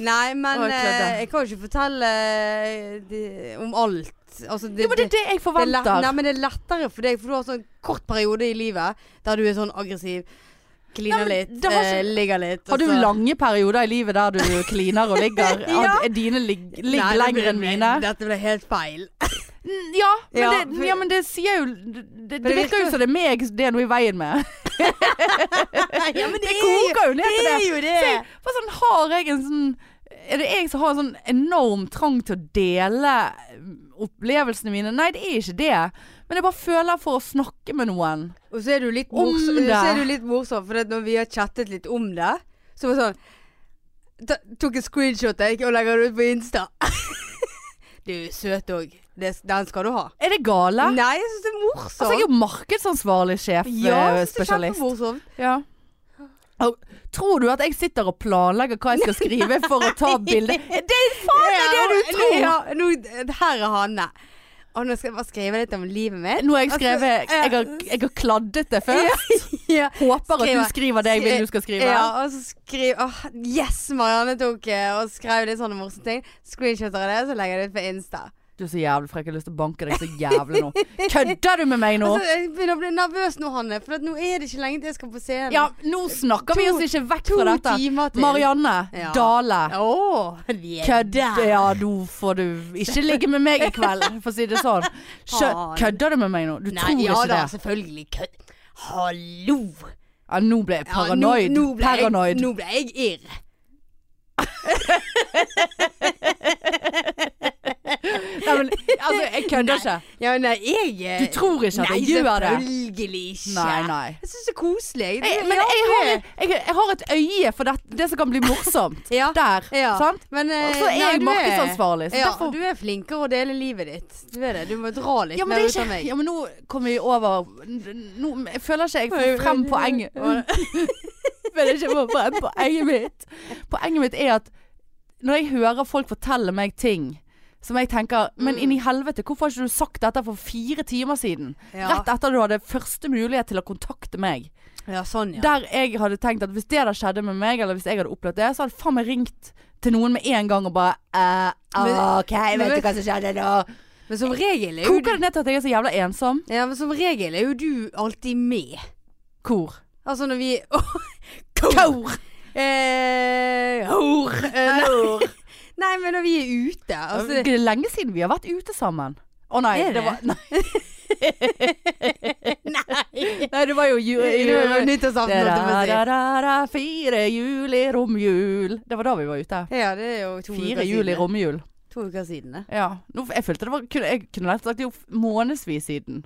[SPEAKER 1] Nei, men
[SPEAKER 2] Ah. Å, jeg klødde.
[SPEAKER 1] eh, jeg kan jo ikke fortelle eh, de, om alt. Altså, det,
[SPEAKER 2] Jo, men det er det jeg
[SPEAKER 1] det er lett,
[SPEAKER 2] forventer.
[SPEAKER 1] nei, men det er lettere for deg, for du har sånn kort periode i livet der du er sånn aggressiv.
[SPEAKER 2] Nei, men
[SPEAKER 1] Kliner litt,
[SPEAKER 2] det har
[SPEAKER 1] eh,
[SPEAKER 2] ikke-
[SPEAKER 1] ligger litt.
[SPEAKER 2] Har
[SPEAKER 1] og
[SPEAKER 2] du
[SPEAKER 1] så-
[SPEAKER 2] lange perioder i livet der du kliner og ligger?
[SPEAKER 1] Ja.
[SPEAKER 2] Er dine ligg ligg
[SPEAKER 1] Nei, det
[SPEAKER 2] lenger
[SPEAKER 1] ble-
[SPEAKER 2] enn mine?
[SPEAKER 1] Dette ble helt feil.
[SPEAKER 2] N- Ja, men,
[SPEAKER 1] Ja,
[SPEAKER 2] det,
[SPEAKER 1] for-
[SPEAKER 2] ja, men det sier jo Det, det, det virker
[SPEAKER 1] virker-
[SPEAKER 2] jo som det er meg det er noe i veien med.
[SPEAKER 1] ja, men
[SPEAKER 2] Det koker jo ned til det.
[SPEAKER 1] er jo det!
[SPEAKER 2] Hva sånn, har jeg en sånn Er det jeg som har en sånn enorm trang til å dele mm, opplevelsene mine? Nei, det er ikke det. Men jeg bare føler for å snakke med noen.
[SPEAKER 1] Og så er du litt
[SPEAKER 2] Om
[SPEAKER 1] morsom,
[SPEAKER 2] det.
[SPEAKER 1] så er du litt morsom for at når vi har chattet litt om det, så var det sånn ta, Tok en screenshot jeg, og legger det ut på Insta. du er søt òg. Den skal du ha.
[SPEAKER 2] Er det gale?
[SPEAKER 1] Nei, jeg syns det er morsomt.
[SPEAKER 2] Altså, jeg er jo markedsansvarlig sjef, eh,
[SPEAKER 1] jeg synes det er
[SPEAKER 2] spesialist.
[SPEAKER 1] kjempemorsomt.
[SPEAKER 2] Ja. Og, tror du at jeg sitter og planlegger hva jeg skal skrive for å ta bilde? Det er faen meg det du
[SPEAKER 1] Ja,
[SPEAKER 2] tror!
[SPEAKER 1] Ja, nå, her er Hanne. Og nå skal jeg bare skrive litt om livet mitt.
[SPEAKER 2] Nå har jeg skrevet
[SPEAKER 1] Altså, eh,
[SPEAKER 2] Jeg har, jeg har kladdet det før.
[SPEAKER 1] Ja.
[SPEAKER 2] Håper at
[SPEAKER 1] Skriver.
[SPEAKER 2] du skriver det jeg vil du skal skrive.
[SPEAKER 1] Ja, og så skriv åh, Yes, Marianne tok eh, og skrev litt sånne morsomme ting. Screenshotter av det, så legger jeg det ut på Insta.
[SPEAKER 2] Du er så jævlig frekk. Jeg har lyst til å banke deg så jævlig nå. Kødder du med meg nå?
[SPEAKER 1] Altså, jeg begynner å bli nervøs nå, Hanne. For at nå er det ikke lenge til jeg skal på scenen.
[SPEAKER 2] Ja, nå snakker vi
[SPEAKER 1] To-
[SPEAKER 2] oss ikke vekk
[SPEAKER 1] to
[SPEAKER 2] fra dette.
[SPEAKER 1] timer til.
[SPEAKER 2] Marianne
[SPEAKER 1] Ja.
[SPEAKER 2] Dale.
[SPEAKER 1] Åh, vi er
[SPEAKER 2] Kødder
[SPEAKER 1] der.
[SPEAKER 2] Ja, nå får du ikke ligge med meg i kveld, for å si det sånn. Skjø
[SPEAKER 1] Faen.
[SPEAKER 2] kødder du med meg nå? Du
[SPEAKER 1] Nei,
[SPEAKER 2] tror
[SPEAKER 1] ja
[SPEAKER 2] ikke
[SPEAKER 1] da,
[SPEAKER 2] det?
[SPEAKER 1] selvfølgelig. Kødd. Hallo.
[SPEAKER 2] Ja, nå ble jeg
[SPEAKER 1] Ja, nå-
[SPEAKER 2] paranoid.
[SPEAKER 1] nå ble jeg-
[SPEAKER 2] Paranoid.
[SPEAKER 1] Nå ble jeg irr.
[SPEAKER 2] Nei, men, altså, jeg kødder ikke.
[SPEAKER 1] Ja, nei, jeg eh,
[SPEAKER 2] Du tror ikke at jeg gjør det?
[SPEAKER 1] Nei, selvfølgelig ikke.
[SPEAKER 2] Nei, nei.
[SPEAKER 1] Jeg syns det er koselig. Det
[SPEAKER 2] Jeg,
[SPEAKER 1] er
[SPEAKER 2] men jeg har, et,
[SPEAKER 1] artig.
[SPEAKER 2] jeg, jeg har et øye for det, det som kan bli morsomt.
[SPEAKER 1] Ja.
[SPEAKER 2] Der.
[SPEAKER 1] Ja.
[SPEAKER 2] Sant?
[SPEAKER 1] Men eh,
[SPEAKER 2] Og så er
[SPEAKER 1] nei,
[SPEAKER 2] jeg
[SPEAKER 1] du er-
[SPEAKER 2] markedsansvarlig, så
[SPEAKER 1] ja,
[SPEAKER 2] derfor-
[SPEAKER 1] Du er flinkere å dele livet ditt. Du er det. Du må dra litt
[SPEAKER 2] Ja, men,
[SPEAKER 1] mer
[SPEAKER 2] det er
[SPEAKER 1] ut av
[SPEAKER 2] ikke,
[SPEAKER 1] meg.
[SPEAKER 2] ja, men nå kommer vi over nå, Jeg føler ikke jeg får frem poenget. Jeg føler ikke jeg får frem poenget mitt. Poenget mitt er at når jeg hører folk fortelle meg ting som jeg tenker Men inni helvete, hvorfor har ikke du sagt dette for fire timer siden?
[SPEAKER 1] Ja.
[SPEAKER 2] Rett etter du hadde første mulighet til å kontakte meg.
[SPEAKER 1] Ja, sånn, ja.
[SPEAKER 2] Der jeg hadde tenkt at hvis det hadde skjedd med meg, eller hvis jeg hadde opplevd det, så hadde faen meg ringt til noen med en gang og bare eh,
[SPEAKER 1] Men-
[SPEAKER 2] OK, vet
[SPEAKER 1] men-
[SPEAKER 2] du hva som skjedde nå?
[SPEAKER 1] Men som regel er jo
[SPEAKER 2] Koker det ned til at jeg er så jævla ensom?
[SPEAKER 1] Ja, men som regel er jo du alltid med.
[SPEAKER 2] Hvor?
[SPEAKER 1] Altså når vi
[SPEAKER 2] Kor!
[SPEAKER 1] Eh, hor! Eh,
[SPEAKER 2] Kor!
[SPEAKER 1] nei, men når vi er ute.
[SPEAKER 2] Altså,
[SPEAKER 1] Altså,
[SPEAKER 2] det er lenge siden vi har vært ute sammen. Å nei,
[SPEAKER 1] Er
[SPEAKER 2] det
[SPEAKER 1] det?
[SPEAKER 2] var, nei,
[SPEAKER 1] nei!
[SPEAKER 2] nei, det var jo ju,
[SPEAKER 1] Det var jo
[SPEAKER 2] ju,
[SPEAKER 1] nyttårsaften. holdt jeg på å si.
[SPEAKER 2] Da-da-da-da, Fire juli, romjul. Det var da vi var ute.
[SPEAKER 1] Ja, det er jo to
[SPEAKER 2] Fire
[SPEAKER 1] uker
[SPEAKER 2] juli,
[SPEAKER 1] siden.
[SPEAKER 2] romjul.
[SPEAKER 1] To uker siden, det.
[SPEAKER 2] Ja. Nå, jeg følte det var kunne- Jeg kunne lett sagt det er jo månedsvis siden.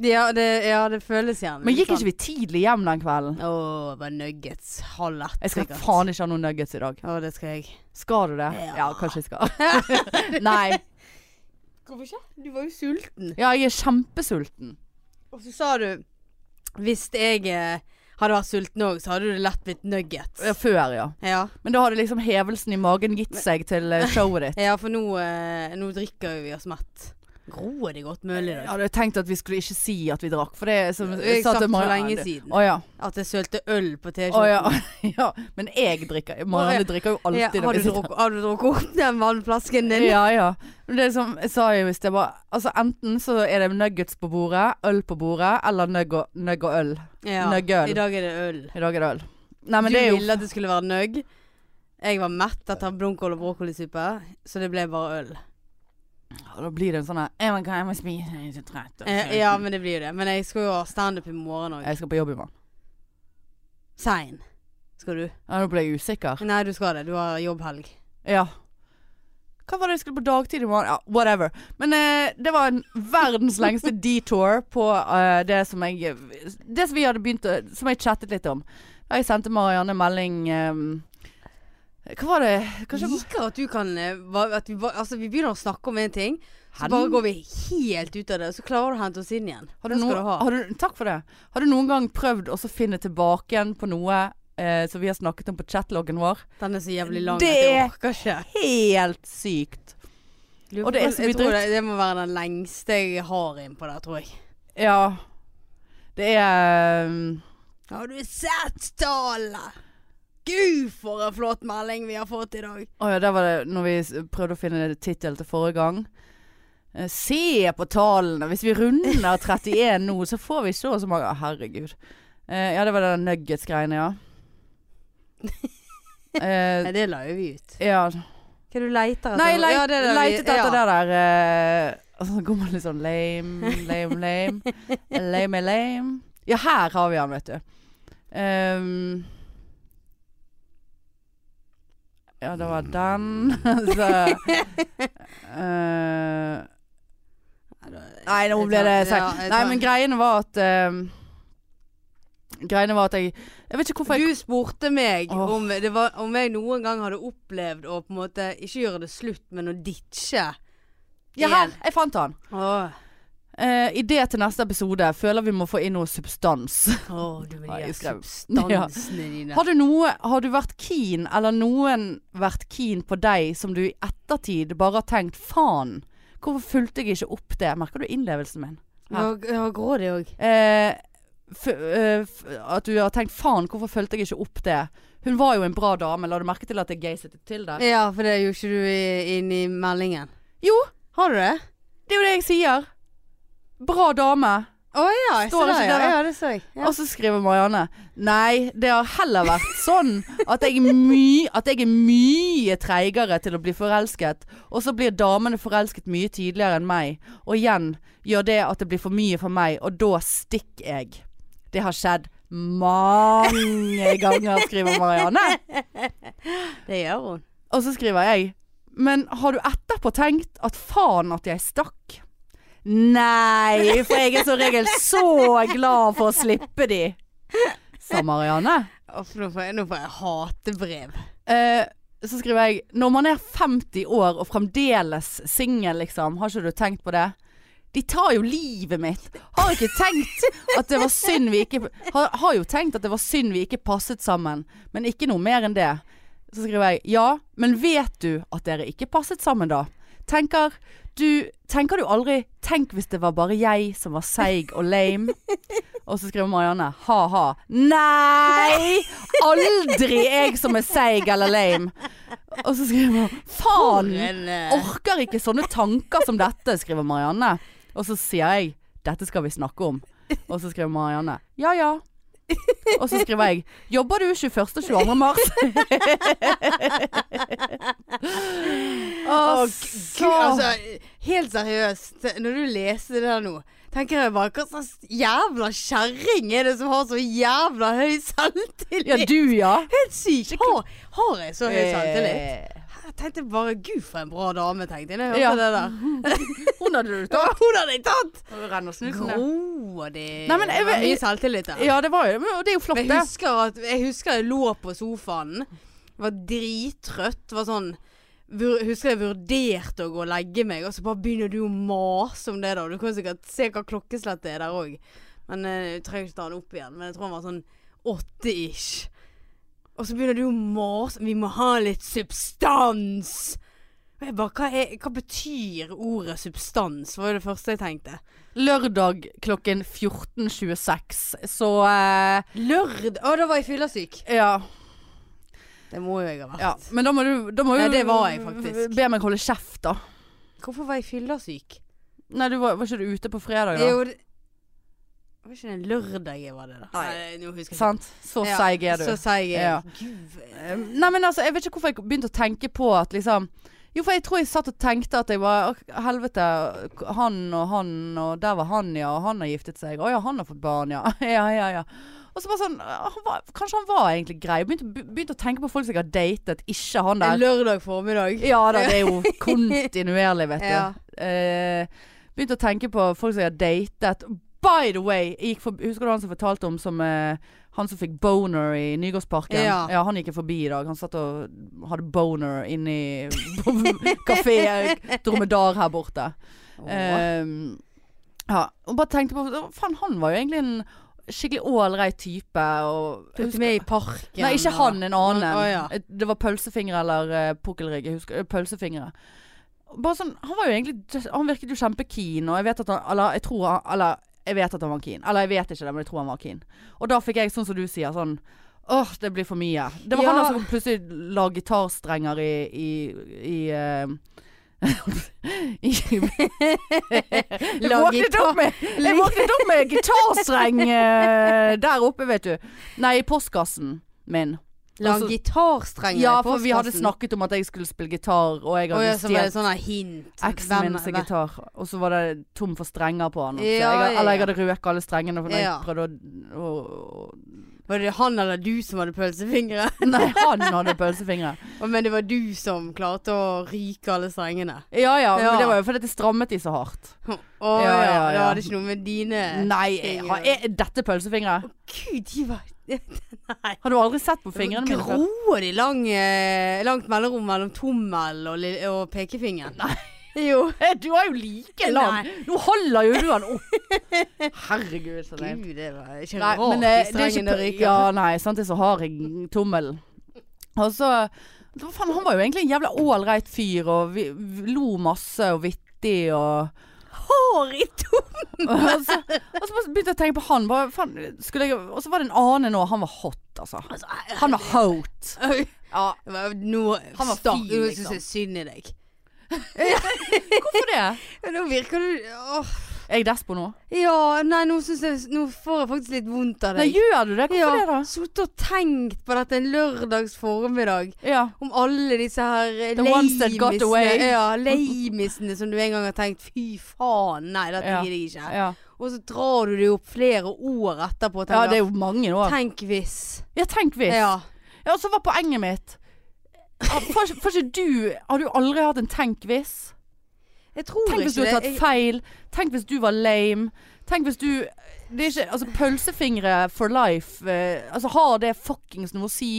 [SPEAKER 1] Ja, det, ja, det føles gjerne
[SPEAKER 2] Men gikk ikke vi tidlig hjem den kvelden?
[SPEAKER 1] Å, bare nuggets. Halv ett.
[SPEAKER 2] Jeg skal
[SPEAKER 1] sikkert.
[SPEAKER 2] faen ikke ha noen nuggets i dag.
[SPEAKER 1] Å, det skal jeg.
[SPEAKER 2] Skal du det?
[SPEAKER 1] Ja.
[SPEAKER 2] Ja, kanskje jeg skal. Nei.
[SPEAKER 1] Hvorfor ikke? Du var jo sulten.
[SPEAKER 2] Ja, jeg er kjempesulten.
[SPEAKER 1] Og så sa du Hvis jeg eh, hadde vært sulten òg, så hadde du lett blitt nuggets.
[SPEAKER 2] Ja, Før, ja.
[SPEAKER 1] Ja,
[SPEAKER 2] Men da hadde liksom hevelsen i magen gitt seg til eh, showet ditt.
[SPEAKER 1] ja for nå, eh, nå drikker jo vi oss mett. Gror det godt mulig,
[SPEAKER 2] Jeg
[SPEAKER 1] da?
[SPEAKER 2] hadde tenkt at vi skulle ikke si at vi drakk, for det er som
[SPEAKER 1] Jeg
[SPEAKER 2] sa til
[SPEAKER 1] sagt for
[SPEAKER 2] Marianne-
[SPEAKER 1] lenge siden.
[SPEAKER 2] Å ja.
[SPEAKER 1] At jeg sølte øl på
[SPEAKER 2] Å ja.
[SPEAKER 1] T-skjorten.
[SPEAKER 2] ja. Men jeg drikker. Marianne drikker jo alltid.
[SPEAKER 1] Ja,
[SPEAKER 2] når
[SPEAKER 1] har,
[SPEAKER 2] vi
[SPEAKER 1] du
[SPEAKER 2] sitter-
[SPEAKER 1] drukket, har du drukket opp den vannflasken din?
[SPEAKER 2] Ja, ja. Men det er som jeg sa jo i sted, bare Altså enten så er det nuggets på bordet, øl på bordet, eller nugg og, nugg og øl.
[SPEAKER 1] Ja,
[SPEAKER 2] Nøggøl.
[SPEAKER 1] I dag er det øl.
[SPEAKER 2] I dag er det øl. Nei, men
[SPEAKER 1] du
[SPEAKER 2] det er jo
[SPEAKER 1] ville at det skulle være nøgg. Jeg var mett etter blomkål og brokkolisuppe, så det ble bare øl.
[SPEAKER 2] Ja, Da blir det en sånn her «Eh, men hva, Jeg må spise, jeg er så trett.
[SPEAKER 1] Eh, ja, men det blir jo det. Men jeg skal jo ha standup i morgen òg.
[SPEAKER 2] Jeg skal på jobb i morgen.
[SPEAKER 1] Sein. Skal du?
[SPEAKER 2] Ja, nå ble jeg usikker.
[SPEAKER 1] Nei, du skal det. Du har jobbhelg.
[SPEAKER 2] Ja. Hva var det jeg skulle på dagtid i morgen? Ja, whatever. Men eh, det var en verdens lengste detour på eh, det som jeg Det som vi hadde begynt å Som jeg chattet litt om. Da jeg sendte Marianne melding eh, Hva var det
[SPEAKER 1] Jeg
[SPEAKER 2] Kanskje
[SPEAKER 1] liker at du kan eh, va- at vi, va- Altså, vi begynner å snakke om en ting, så
[SPEAKER 2] Hen-
[SPEAKER 1] bare går vi helt ut av det. og Så klarer du å hente oss inn igjen.
[SPEAKER 2] har du,
[SPEAKER 1] det skal
[SPEAKER 2] noen-
[SPEAKER 1] du ha.
[SPEAKER 2] har du, takk for det. Har du noen gang prøvd å så finne tilbake igjen på noe eh, som vi har snakket om på chatloggen vår?
[SPEAKER 1] Den er så jævlig lang
[SPEAKER 2] Det
[SPEAKER 1] at jeg
[SPEAKER 2] er-
[SPEAKER 1] orker ikke.
[SPEAKER 2] Helt sykt.
[SPEAKER 1] Lurer
[SPEAKER 2] Og det er
[SPEAKER 1] på-
[SPEAKER 2] så
[SPEAKER 1] jeg
[SPEAKER 2] mye
[SPEAKER 1] tror
[SPEAKER 2] dritt.
[SPEAKER 1] det, det må være den lengste jeg har inn på det, tror jeg.
[SPEAKER 2] Ja. Det er eh,
[SPEAKER 1] Har du sett tallet? Gud, for en flott melding vi har fått i dag.
[SPEAKER 2] Å ja, der var det når vi s- prøvde å finne tittel til forrige gang. Eh, Se på tallene! Hvis vi runder 31 nå, så får vi så og så mange Å, Herregud. Eh, ja, det var den nuggets-greiene, ja. Eh,
[SPEAKER 1] Nei, det la jo vi ut.
[SPEAKER 2] ja.
[SPEAKER 1] Hva er det du leter etter?
[SPEAKER 2] Nei, jeg leit,
[SPEAKER 1] Ja, det er det vi-
[SPEAKER 2] leitet etter
[SPEAKER 1] ja.
[SPEAKER 2] det der eh, Og så går man litt sånn lame, lame, lame. eh, Lame er lame. Ja, her har vi han, vet du. Ehm. ja, det var den. så eh, Nei, nå ble det
[SPEAKER 1] Ja,
[SPEAKER 2] seigt.
[SPEAKER 1] jeg
[SPEAKER 2] Nei,
[SPEAKER 1] tar-
[SPEAKER 2] men greiene var at ehm, Greiene var at jeg Jeg vet ikke hvorfor jeg
[SPEAKER 1] Du spurte meg
[SPEAKER 2] Åh.
[SPEAKER 1] om, det var, om jeg noen gang hadde opplevd å på en måte ikke gjøre det slutt, men å ditche.
[SPEAKER 2] Ja, her! Jeg fant han.
[SPEAKER 1] Åh,
[SPEAKER 2] Uh, idé til neste episode. Føler vi må få inn noe substans.
[SPEAKER 1] åh, du med
[SPEAKER 2] Har
[SPEAKER 1] de
[SPEAKER 2] jeg
[SPEAKER 1] der
[SPEAKER 2] skrevet.
[SPEAKER 1] substansene dine.
[SPEAKER 2] Har du, noe, har du vært keen, eller noen vært keen på deg som du i ettertid bare har tenkt faen, hvorfor fulgte jeg ikke opp det? Merker du innlevelsen min?
[SPEAKER 1] Ja, g- ja, grådig òg.
[SPEAKER 2] Eh, f eh, f at du har tenkt faen, hvorfor fulgte jeg ikke opp det? Hun var jo en bra dame, la du merke til at jeg gayset til det?
[SPEAKER 1] Ja, for det gjorde ikke du i- inn i meldingen.
[SPEAKER 2] Jo,
[SPEAKER 1] Har du det?
[SPEAKER 2] det er jo det jeg sier. Bra dame.
[SPEAKER 1] Å ja, jeg
[SPEAKER 2] Står
[SPEAKER 1] ser det.
[SPEAKER 2] ikke
[SPEAKER 1] Ja,
[SPEAKER 2] det, da?
[SPEAKER 1] ja, det så jeg. Ja.
[SPEAKER 2] Og så skriver Marianne Nei, det har heller vært sånn at jeg, er my, at jeg er mye treigere til å bli forelsket. Og så blir damene forelsket mye tidligere enn meg. Og igjen gjør det at det blir for mye for meg, og da stikker jeg. Det har skjedd mange ganger, skriver Marianne.
[SPEAKER 1] Det gjør hun.
[SPEAKER 2] Og så skriver jeg Men har du etterpå tenkt at faen at jeg stakk? Nei, for jeg er som regel så glad for å slippe de. Sa Marianne.
[SPEAKER 1] Uff, nå får jeg, nå får jeg hatebrev.
[SPEAKER 2] Eh, så skriver jeg Når man er 50 år og fremdeles singel, liksom, har ikke du tenkt på det? De tar jo livet mitt. Har ikke tenkt at det var synd vi ikke har, har jo tenkt at det var synd vi ikke passet sammen, men ikke noe mer enn det. Så skriver jeg Ja, men vet du at dere ikke passet sammen da? Tenker du Tenker du aldri Tenk hvis det var bare jeg som var seig og lame? Og så skriver Marianne ha-ha. Nei! Aldri jeg som er seig eller lame. Og så skriver hun faen!
[SPEAKER 1] Men, eh,
[SPEAKER 2] Orker ikke sånne tanker som dette, skriver Marianne. Og så sier jeg dette skal vi snakke om. Og så skriver Marianne ja ja. Og så skriver jeg jobber du 21. og 22. mars?
[SPEAKER 1] Å,
[SPEAKER 2] Og
[SPEAKER 1] gud, altså, helt seriøst, når du leste det der nå, tenker jeg bare hva slags jævla kjerring er det som har så jævla høy selvtillit?
[SPEAKER 2] Ja, du ja.
[SPEAKER 1] Helt sykt. Har, har jeg så høy selvtillit?
[SPEAKER 2] Eh,
[SPEAKER 1] Jeg tenkte bare gud for en bra dame, tenkte jeg. når Jeg
[SPEAKER 2] Ja.
[SPEAKER 1] hørte det der.
[SPEAKER 2] Hun hadde du
[SPEAKER 1] Da, hun hadde jeg tatt!
[SPEAKER 2] Renner snusen ned.
[SPEAKER 1] Grådig.
[SPEAKER 2] Nei, men jeg
[SPEAKER 1] Det var
[SPEAKER 2] vet-
[SPEAKER 1] Mye selvtillit der.
[SPEAKER 2] Ja, det var jo men Det er jo flott,
[SPEAKER 1] Men
[SPEAKER 2] det.
[SPEAKER 1] jeg husker, at, jeg husker jeg lå på sofaen, var drittrøtt, var sånn vur- Husker jeg vurderte å gå og legge meg, og så bare begynner du å mase om det, da. Du kan sikkert se hva klokkeslett det er der òg. Men eh, jeg trenger ikke ta den opp igjen. Men jeg tror han var sånn åtte-ish. Og så begynner du å mase Vi må ha litt substans! Og jeg bare, hva, er, hva betyr ordet substans? var jo det første jeg tenkte.
[SPEAKER 2] Lørdag klokken 14.26, så eh,
[SPEAKER 1] Lørd... Å, da var jeg fyllesyk.
[SPEAKER 2] Ja.
[SPEAKER 1] Det må jo jeg ha vært.
[SPEAKER 2] Ja, men da må du, da må
[SPEAKER 1] Nei,
[SPEAKER 2] jo
[SPEAKER 1] det var jeg faktisk.
[SPEAKER 2] Be meg holde kjeft, da.
[SPEAKER 1] Hvorfor var jeg fyllesyk?
[SPEAKER 2] Nei, du var, var ikke du ute på fredag,
[SPEAKER 1] Det er
[SPEAKER 2] da?
[SPEAKER 1] jo det var ikke den lørdag jeg var det, da.
[SPEAKER 2] Nei.
[SPEAKER 1] nå husker jeg ikke.
[SPEAKER 2] Sant? Så
[SPEAKER 1] Ja,
[SPEAKER 2] seig er du.
[SPEAKER 1] Så seig er jeg.
[SPEAKER 2] Ja.
[SPEAKER 1] Gud.
[SPEAKER 2] Eh, Nei, men altså, jeg vet ikke hvorfor jeg begynte å tenke på at liksom Jo, for jeg tror jeg satt og tenkte at jeg var «Å, Helvete, han og han, og der var han, ja, og han har giftet seg. Å ja, han har fått barn, ja. ja, ja, ja. Og så bare sånn «Å, han var, Kanskje han var egentlig grei. Begynte, begynte å tenke på folk som jeg har datet, ikke han der.
[SPEAKER 1] En lørdag formiddag.
[SPEAKER 2] Ja da, det er jo kontinuerlig, vet du.
[SPEAKER 1] Ja.
[SPEAKER 2] Eh, begynte å tenke på folk som jeg har datet. By the way, jeg gikk forbi, husker du han som fortalte om som eh, han som fikk boner i Nygårdsparken?
[SPEAKER 1] Ja.
[SPEAKER 2] han gikk jeg forbi i dag. Han satt og hadde boner inni på kafé Dromedar her borte. Eh, ja, og bare tenkte på å, Faen, han var jo egentlig en skikkelig ålreit type. Og, jeg
[SPEAKER 1] Tok
[SPEAKER 2] husker-
[SPEAKER 1] du med i parken?
[SPEAKER 2] Nei, ikke
[SPEAKER 1] og-
[SPEAKER 2] han, en annen.
[SPEAKER 1] Å, ja.
[SPEAKER 2] Et- Det var pølsefingre eller uh, pukkelrygg. Jeg husker eh, pølsefingre. Bare sånn, han var jo egentlig Han virket jo kjempekeen, og jeg vet at han Eller jeg tror han Eller jeg vet at han var keen. Eller jeg vet ikke det, men jeg tror han var keen. Og da fikk jeg sånn som du sier, sånn Åh, det blir for mye. Det var
[SPEAKER 1] Ja.
[SPEAKER 2] han der som plutselig la gitarstrenger i I, i, eh, i Jeg
[SPEAKER 1] La
[SPEAKER 2] våknet
[SPEAKER 1] gitar-
[SPEAKER 2] opp med, jeg våknet opp med gitarstreng eh, der oppe, vet du. Nei, i postkassen min.
[SPEAKER 1] La
[SPEAKER 2] Også-
[SPEAKER 1] han gitarstrenger
[SPEAKER 2] Ja,
[SPEAKER 1] i
[SPEAKER 2] for vi hadde
[SPEAKER 1] postkassen?
[SPEAKER 2] snakket om at jeg skulle spille gitar, og jeg
[SPEAKER 1] Å ja,
[SPEAKER 2] hadde
[SPEAKER 1] så var det
[SPEAKER 2] stjålet
[SPEAKER 1] sånne hint.
[SPEAKER 2] eksen min
[SPEAKER 1] Hvem-
[SPEAKER 2] sin gitar. Og så var det tom for strenger på han. Så
[SPEAKER 1] Ja,
[SPEAKER 2] jeg,
[SPEAKER 1] ja,
[SPEAKER 2] eller jeg
[SPEAKER 1] ja.
[SPEAKER 2] hadde røket alle strengene når jeg
[SPEAKER 1] Ja.
[SPEAKER 2] prøvde å, å, å
[SPEAKER 1] Var det han eller du som hadde pølsefingre?
[SPEAKER 2] Nei, han hadde pølsefingre.
[SPEAKER 1] Men det var du som klarte å ryke alle strengene.
[SPEAKER 2] Ja, ja, men
[SPEAKER 1] Ja.
[SPEAKER 2] det var jo fordi det strammet de så hardt. Ja,
[SPEAKER 1] Å ja,
[SPEAKER 2] ja,
[SPEAKER 1] det
[SPEAKER 2] ja.
[SPEAKER 1] hadde ikke noe med dine
[SPEAKER 2] Nei, jeg har, er dette pølsefingre?
[SPEAKER 1] Gud, de var Nei.
[SPEAKER 2] Har du aldri sett på fingrene mine? før?
[SPEAKER 1] Gror de lang, eh, langt mellomrom mellom tommel og, li- og pekefingeren? Nei. Jo.
[SPEAKER 2] Du har jo like lang. Nå holder jo du han opp. Herregud, så leit.
[SPEAKER 1] Gud, det var ikke
[SPEAKER 2] Nei,
[SPEAKER 1] rart
[SPEAKER 2] men eh,
[SPEAKER 1] de
[SPEAKER 2] det er
[SPEAKER 1] strengene
[SPEAKER 2] ikke
[SPEAKER 1] ryker.
[SPEAKER 2] Ja, nei, sant, så har jeg tommelen. Og så det var faen, Han var jo egentlig en jævla ålreit fyr, og vi, vi lo masse og vittig og
[SPEAKER 1] Hår i to
[SPEAKER 2] og så, og så bare begynte jeg å tenke på han. Bare, faen, skulle jeg, og så var det en annen nå. Han var hot, altså. Han var hot. Ja,
[SPEAKER 1] Nå
[SPEAKER 2] Han var fin,
[SPEAKER 1] stakk- Nå
[SPEAKER 2] liksom.
[SPEAKER 1] synes jeg synd i deg.
[SPEAKER 2] hvorfor det?
[SPEAKER 1] Nå virker du Åh.
[SPEAKER 2] Er jeg despo nå?
[SPEAKER 1] Ja, nei, nå, synes jeg, nå får jeg faktisk litt vondt av
[SPEAKER 2] Nei,
[SPEAKER 1] deg.
[SPEAKER 2] gjør du det? Hvorfor
[SPEAKER 1] ja,
[SPEAKER 2] det, da?
[SPEAKER 1] Sittet og tenkt på dette en lørdags formiddag.
[SPEAKER 2] Ja.
[SPEAKER 1] Om alle disse her eh,
[SPEAKER 2] The ones that got away.
[SPEAKER 1] lamisene ja, lamisene som du en gang har tenkt Fy faen, nei, dette
[SPEAKER 2] Ja.
[SPEAKER 1] gidder jeg ikke.
[SPEAKER 2] Ja.
[SPEAKER 1] Og så drar du det opp flere år etterpå og
[SPEAKER 2] ja, det
[SPEAKER 1] tenker
[SPEAKER 2] er jo mange år.
[SPEAKER 1] Tenk hvis.
[SPEAKER 2] Ja, tenk hvis.
[SPEAKER 1] Ja.
[SPEAKER 2] Ja, og så var poenget mitt Ah, Får ikke- får ikke du Har du aldri hatt en tenk hvis?
[SPEAKER 1] Jeg tror
[SPEAKER 2] Tenk hvis du
[SPEAKER 1] ikke
[SPEAKER 2] har
[SPEAKER 1] det.
[SPEAKER 2] tatt feil. Tenk hvis du var lame. Tenk hvis du det er ikke, altså Pølsefingre for life eh, Altså Har det fuckings noe å si?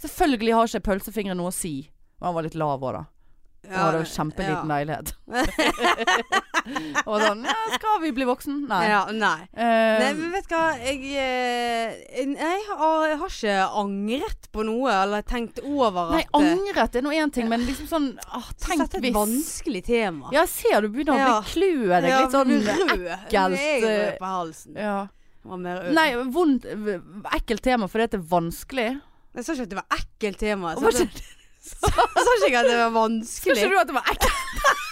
[SPEAKER 2] Selvfølgelig har ikke pølsefingre noe å si. Og han var litt lav òg, da.
[SPEAKER 1] Jeg-
[SPEAKER 2] Han hadde jo
[SPEAKER 1] ja,
[SPEAKER 2] kjempeliten leilighet. og sånn ja, 'Skal vi bli voksen?' Nei.
[SPEAKER 1] Ja, nei.
[SPEAKER 2] Eh,
[SPEAKER 1] Nei, men vet du hva, jeg, eh, nei, jeg, har, jeg har ikke angret på noe, eller tenkt over
[SPEAKER 2] nei,
[SPEAKER 1] at eh,
[SPEAKER 2] angret er nå én ting, men liksom sånn ah, Tenk
[SPEAKER 1] Dette er et
[SPEAKER 2] hvis
[SPEAKER 1] vanskelig tema.
[SPEAKER 2] Ja, jeg ser du begynner å
[SPEAKER 1] Ja.
[SPEAKER 2] bli kløe deg litt sånn
[SPEAKER 1] rød.
[SPEAKER 2] ekkelt,
[SPEAKER 1] Jeg er
[SPEAKER 2] eh,
[SPEAKER 1] rød på halsen.
[SPEAKER 2] Ja.
[SPEAKER 1] Jeg var mer rød.
[SPEAKER 2] Nei, vondt, v- ekkelt tema fordi at det er vanskelig.
[SPEAKER 1] Jeg sa ikke at det var ekkelt tema. Jeg
[SPEAKER 2] Hva
[SPEAKER 1] sa, at- jeg sa ikke at det var
[SPEAKER 2] Skulle
[SPEAKER 1] vanskelig.
[SPEAKER 2] ikke du at det var ekkelt?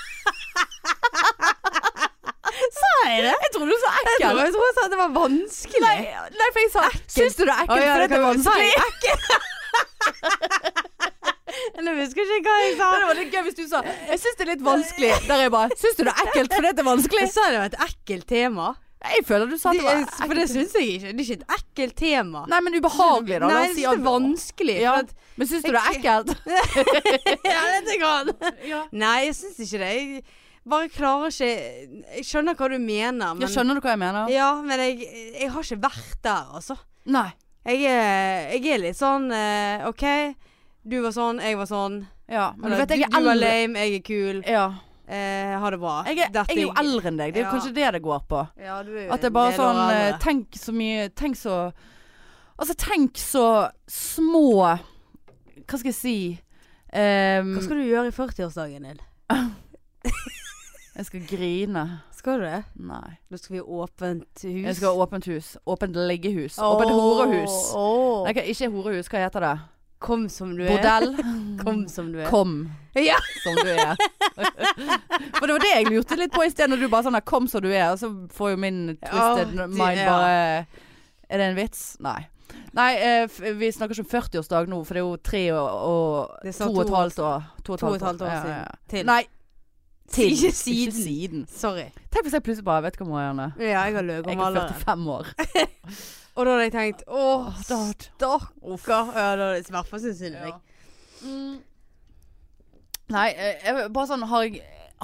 [SPEAKER 1] Sa jeg det?
[SPEAKER 2] Jeg trodde du sa
[SPEAKER 1] Jeg tror
[SPEAKER 2] ekkelt.
[SPEAKER 1] jeg tror jeg sa at det var vanskelig.
[SPEAKER 2] Nei, nei, for jeg sa Syns du det er
[SPEAKER 1] Å,
[SPEAKER 2] ekkelt
[SPEAKER 1] ja,
[SPEAKER 2] fordi
[SPEAKER 1] det
[SPEAKER 2] at det er
[SPEAKER 1] kan vi si.
[SPEAKER 2] vanskelig?
[SPEAKER 1] Nå husker jeg ikke hva jeg sa.
[SPEAKER 2] Det var litt gøy hvis du sa Jeg syns det er litt vanskelig. Der er jeg bare Syns du det er ekkelt fordi at det er vanskelig?
[SPEAKER 1] Jeg sa det var et ekkelt tema.
[SPEAKER 2] Jeg føler du sa at det var
[SPEAKER 1] Det- For det
[SPEAKER 2] ekkelt.
[SPEAKER 1] syns jeg ikke. Det er ikke et ekkelt tema.
[SPEAKER 2] Nei, men ubehagelig, da. La oss
[SPEAKER 1] Nei,
[SPEAKER 2] si
[SPEAKER 1] jeg synes det
[SPEAKER 2] at-
[SPEAKER 1] er vanskelig.
[SPEAKER 2] Ja.
[SPEAKER 1] For at,
[SPEAKER 2] Men syns du det er ekkelt?
[SPEAKER 1] ja, litt grann.
[SPEAKER 2] Ja.
[SPEAKER 1] Nei, jeg syns ikke det. Jeg bare klarer ikke Jeg skjønner hva du mener, men
[SPEAKER 2] Jeg skjønner du hva jeg mener?
[SPEAKER 1] Ja, men jeg, jeg har ikke vært der, altså.
[SPEAKER 2] Nei.
[SPEAKER 1] Jeg er, jeg er litt sånn eh, OK, du var sånn, jeg var sånn.
[SPEAKER 2] Ja, men du
[SPEAKER 1] Eller,
[SPEAKER 2] vet jeg
[SPEAKER 1] du,
[SPEAKER 2] er
[SPEAKER 1] du var
[SPEAKER 2] eldre.
[SPEAKER 1] lame, jeg er kul.
[SPEAKER 2] Ja.
[SPEAKER 1] Eh, ha det bra.
[SPEAKER 2] Jeg er, jeg er jo eldre enn deg. Det er jo
[SPEAKER 1] Ja.
[SPEAKER 2] kanskje det det går på.
[SPEAKER 1] Ja, du er jo
[SPEAKER 2] At det er
[SPEAKER 1] en
[SPEAKER 2] bare
[SPEAKER 1] del år
[SPEAKER 2] sånn eh,
[SPEAKER 1] eldre.
[SPEAKER 2] Tenk så mye Tenk så Altså tenk så små Hva skal jeg si Ehm,
[SPEAKER 1] Hva skal du gjøre i 40-årsdagen din?
[SPEAKER 2] Jeg skal grine
[SPEAKER 1] Skal du det?
[SPEAKER 2] Nei
[SPEAKER 1] Da skal vi ha åpent hus.
[SPEAKER 2] Jeg skal ha åpent hus Åpent leggehus Åpent horehus Nei, hva- ikke horehus Hva heter det?
[SPEAKER 1] Kom som du er.
[SPEAKER 2] Bordell
[SPEAKER 1] Kom som du er.
[SPEAKER 2] Kom
[SPEAKER 1] Ja.
[SPEAKER 2] Som du er For det var det jeg lurte litt på I stedet når du bare sånn der, Kom som du er Og så får jo min twisted
[SPEAKER 1] Ja, de-
[SPEAKER 2] mind
[SPEAKER 1] ja.
[SPEAKER 2] bare Er det en vits? Nei Nei, eh, f- vi snakker ikke om 40-årsdag nå, for det er jo tre og, og
[SPEAKER 1] Det er
[SPEAKER 2] to
[SPEAKER 1] snart
[SPEAKER 2] og et
[SPEAKER 1] to
[SPEAKER 2] halvt år. To
[SPEAKER 1] To og et halvt
[SPEAKER 2] Ja,
[SPEAKER 1] år
[SPEAKER 2] ja,
[SPEAKER 1] siden.
[SPEAKER 2] ja.
[SPEAKER 1] Til.
[SPEAKER 2] Nei, til.
[SPEAKER 1] Ikke siden.
[SPEAKER 2] Ikke siden.
[SPEAKER 1] Sorry.
[SPEAKER 2] Tenk hvis jeg plutselig bare vet hva Marianne
[SPEAKER 1] Ja, jeg har
[SPEAKER 2] Jeg
[SPEAKER 1] løyet om
[SPEAKER 2] er
[SPEAKER 1] alderen.
[SPEAKER 2] 45 år.
[SPEAKER 1] Og da hadde jeg tenkt åh,
[SPEAKER 2] Åh, da hadde-
[SPEAKER 1] stakkar. Ja, da hadde jeg i hvert fall syntes synd på deg.
[SPEAKER 2] Mm. Nei, eh, jeg, bare sånn har jeg,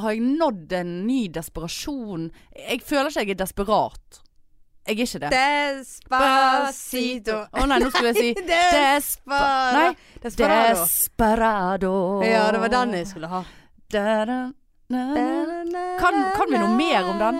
[SPEAKER 2] har jeg nådd en ny desperasjon? Jeg føler ikke jeg er desperat. Jeg er ikke det.
[SPEAKER 1] Despacito.
[SPEAKER 2] Å nei, nå skulle jeg si
[SPEAKER 1] Despacito.
[SPEAKER 2] despa... Nei,
[SPEAKER 1] Desperado.
[SPEAKER 2] desperado.
[SPEAKER 1] Ja, det var den jeg skulle ha.
[SPEAKER 2] Da, da, na, na. Kan- kan vi noe mer om den?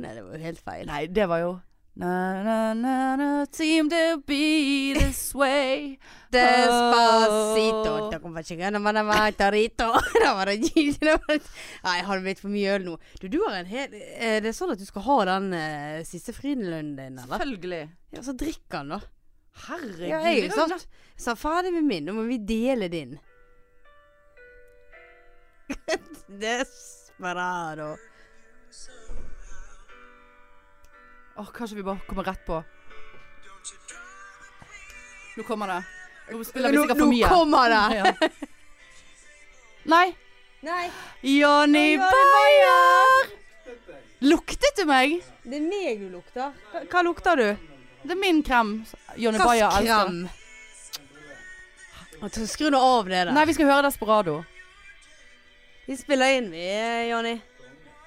[SPEAKER 1] Nei, det var jo helt feil.
[SPEAKER 2] Nei, det var jo Na, na, na, na, seem to be this way.
[SPEAKER 1] Despacito. Da kommer jeg ikke gjennom, men jeg var tarito. Da var det gyld- da var det- Nei, har det blitt for mye øl nå? Du, du har en hel Er det sånn at du skal ha den eh, siste frynlønnen din, eller?
[SPEAKER 2] Selvfølgelig.
[SPEAKER 1] Ja, så drikk den, da.
[SPEAKER 2] Herregud.
[SPEAKER 1] Ja, jeg er jo sant. Så ferdig med min, nå må vi dele din. Desperado.
[SPEAKER 2] Åh, kanskje vi bare kommer rett på. Nå kommer det. Nå
[SPEAKER 1] Nå,
[SPEAKER 2] spiller vi sikkert
[SPEAKER 1] nå
[SPEAKER 2] for mye.
[SPEAKER 1] kommer det!
[SPEAKER 2] Ja. Nei.
[SPEAKER 3] Nei,
[SPEAKER 2] Johnny
[SPEAKER 3] Johnny
[SPEAKER 2] Bayer! Luktet du meg?
[SPEAKER 3] det er meg du lukter.
[SPEAKER 1] Hva, hva lukter du?
[SPEAKER 2] Det er min krem. Johnny Bayer elsker den.
[SPEAKER 1] Gasskrem. Altså, Skru nå av det der.
[SPEAKER 2] Nei, vi skal høre Desperado.
[SPEAKER 1] Vi spiller inn, vi, eh, Jonny.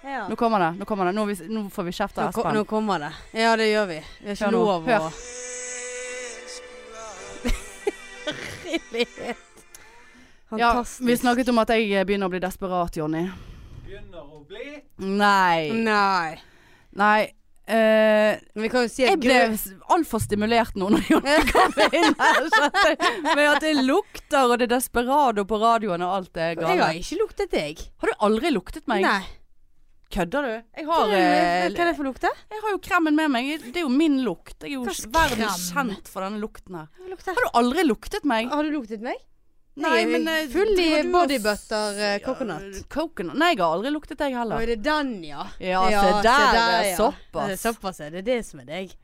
[SPEAKER 3] Ja.
[SPEAKER 2] Nå kommer det. Nå, kommer det. nå, er vi, nå får vi kjeft
[SPEAKER 1] Nå,
[SPEAKER 2] av
[SPEAKER 1] ko- nå
[SPEAKER 2] Espen.
[SPEAKER 1] kommer det. Ja, det gjør vi. Vi
[SPEAKER 2] Hør
[SPEAKER 1] har
[SPEAKER 2] nå.
[SPEAKER 1] ikke lov å
[SPEAKER 2] Hør. Ja,
[SPEAKER 1] Fantastisk.
[SPEAKER 2] vi snakket om at jeg eh, begynner å bli desperat, Johnny.
[SPEAKER 4] Begynner å bli
[SPEAKER 1] Mm.
[SPEAKER 2] Nei.
[SPEAKER 1] Nei.
[SPEAKER 2] Nei. eh,
[SPEAKER 1] Men vi kan jo si at
[SPEAKER 2] jeg ble
[SPEAKER 1] grø-
[SPEAKER 2] altfor stimulert nå når Johnny kom inn her. skjønte jeg. Med at det lukter, og det er desperado på radioen, og alt det
[SPEAKER 1] Jeg
[SPEAKER 2] gale.
[SPEAKER 1] har ikke luktet deg.
[SPEAKER 2] Har du aldri luktet meg?
[SPEAKER 1] Nei.
[SPEAKER 2] Kødder du? Jeg
[SPEAKER 1] Hva
[SPEAKER 2] har,
[SPEAKER 1] er det- hva er
[SPEAKER 2] eh,
[SPEAKER 1] det for lukte?
[SPEAKER 2] jeg har jo kremen med meg. Det er jo min lukt. Jeg er jo
[SPEAKER 1] Hva slags
[SPEAKER 2] verden
[SPEAKER 1] krem?
[SPEAKER 2] kjent for denne lukten her.
[SPEAKER 1] Hva
[SPEAKER 2] Har
[SPEAKER 1] lukter?
[SPEAKER 2] du aldri luktet meg?
[SPEAKER 1] Har du luktet meg?
[SPEAKER 2] Nei,
[SPEAKER 1] jeg er
[SPEAKER 2] men eh,
[SPEAKER 1] full i
[SPEAKER 2] driver du
[SPEAKER 1] body
[SPEAKER 2] og s-
[SPEAKER 1] butter, eh, coconut.
[SPEAKER 2] Ja, coconut. Nei, jeg har aldri luktet deg
[SPEAKER 1] Nå
[SPEAKER 2] heller.
[SPEAKER 1] er det den, ja.
[SPEAKER 2] Ja, se der. eh,
[SPEAKER 1] ja. Det er
[SPEAKER 2] Såpass.
[SPEAKER 1] såpass, ja. Det er det som er deg.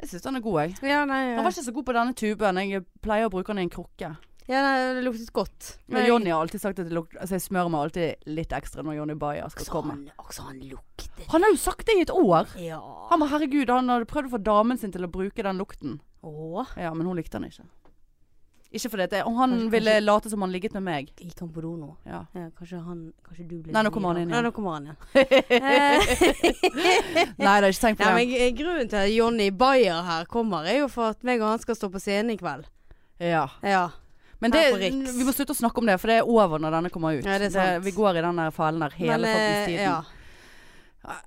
[SPEAKER 2] Jeg syns den er god, jeg.
[SPEAKER 1] Ja, nei,
[SPEAKER 2] Jeg var ikke så god på denne tuben. Jeg pleier å bruke den i en krukke.
[SPEAKER 1] ja, nei det luktet godt.
[SPEAKER 2] Men Jonny har alltid sagt at det lukter Altså, jeg smører meg alltid litt ekstra når Jonny Bayer skal
[SPEAKER 1] Også
[SPEAKER 2] komme.
[SPEAKER 1] han, også han luktet.
[SPEAKER 2] Han har jo sagt det i et år.
[SPEAKER 1] Ja.
[SPEAKER 2] Han var herregud, han hadde prøvd å få damen sin til å bruke den lukten.
[SPEAKER 1] Åh.
[SPEAKER 2] Ja, men hun likte den ikke. Ikke fordi at jeg- Og han ville late som han ligget med meg.
[SPEAKER 1] Gikk han på do nå?
[SPEAKER 2] Ja.
[SPEAKER 1] Ja, kanskje han Kanskje du ble
[SPEAKER 2] Nei, nå
[SPEAKER 1] den
[SPEAKER 2] kommer han
[SPEAKER 1] nye
[SPEAKER 2] inn
[SPEAKER 1] da.
[SPEAKER 2] igjen.
[SPEAKER 1] Nei, nå kommer han igjen. Eh,
[SPEAKER 2] Nei, det er ikke tenkt
[SPEAKER 1] Nei,
[SPEAKER 2] på det.
[SPEAKER 1] men eh, Grunnen til at Jonny Bayer her kommer, er jo for at meg og han skal stå på scenen i kveld.
[SPEAKER 2] Ja.
[SPEAKER 1] Ja.
[SPEAKER 2] Men
[SPEAKER 1] Her
[SPEAKER 2] det,
[SPEAKER 1] på Riks.
[SPEAKER 2] vi må slutte å snakke om det, for det er over når denne kommer ut.
[SPEAKER 1] Ja, det er sant.
[SPEAKER 2] vi går i den der fellen der hele
[SPEAKER 1] Men, eh,
[SPEAKER 2] fuckings tiden.
[SPEAKER 1] ja.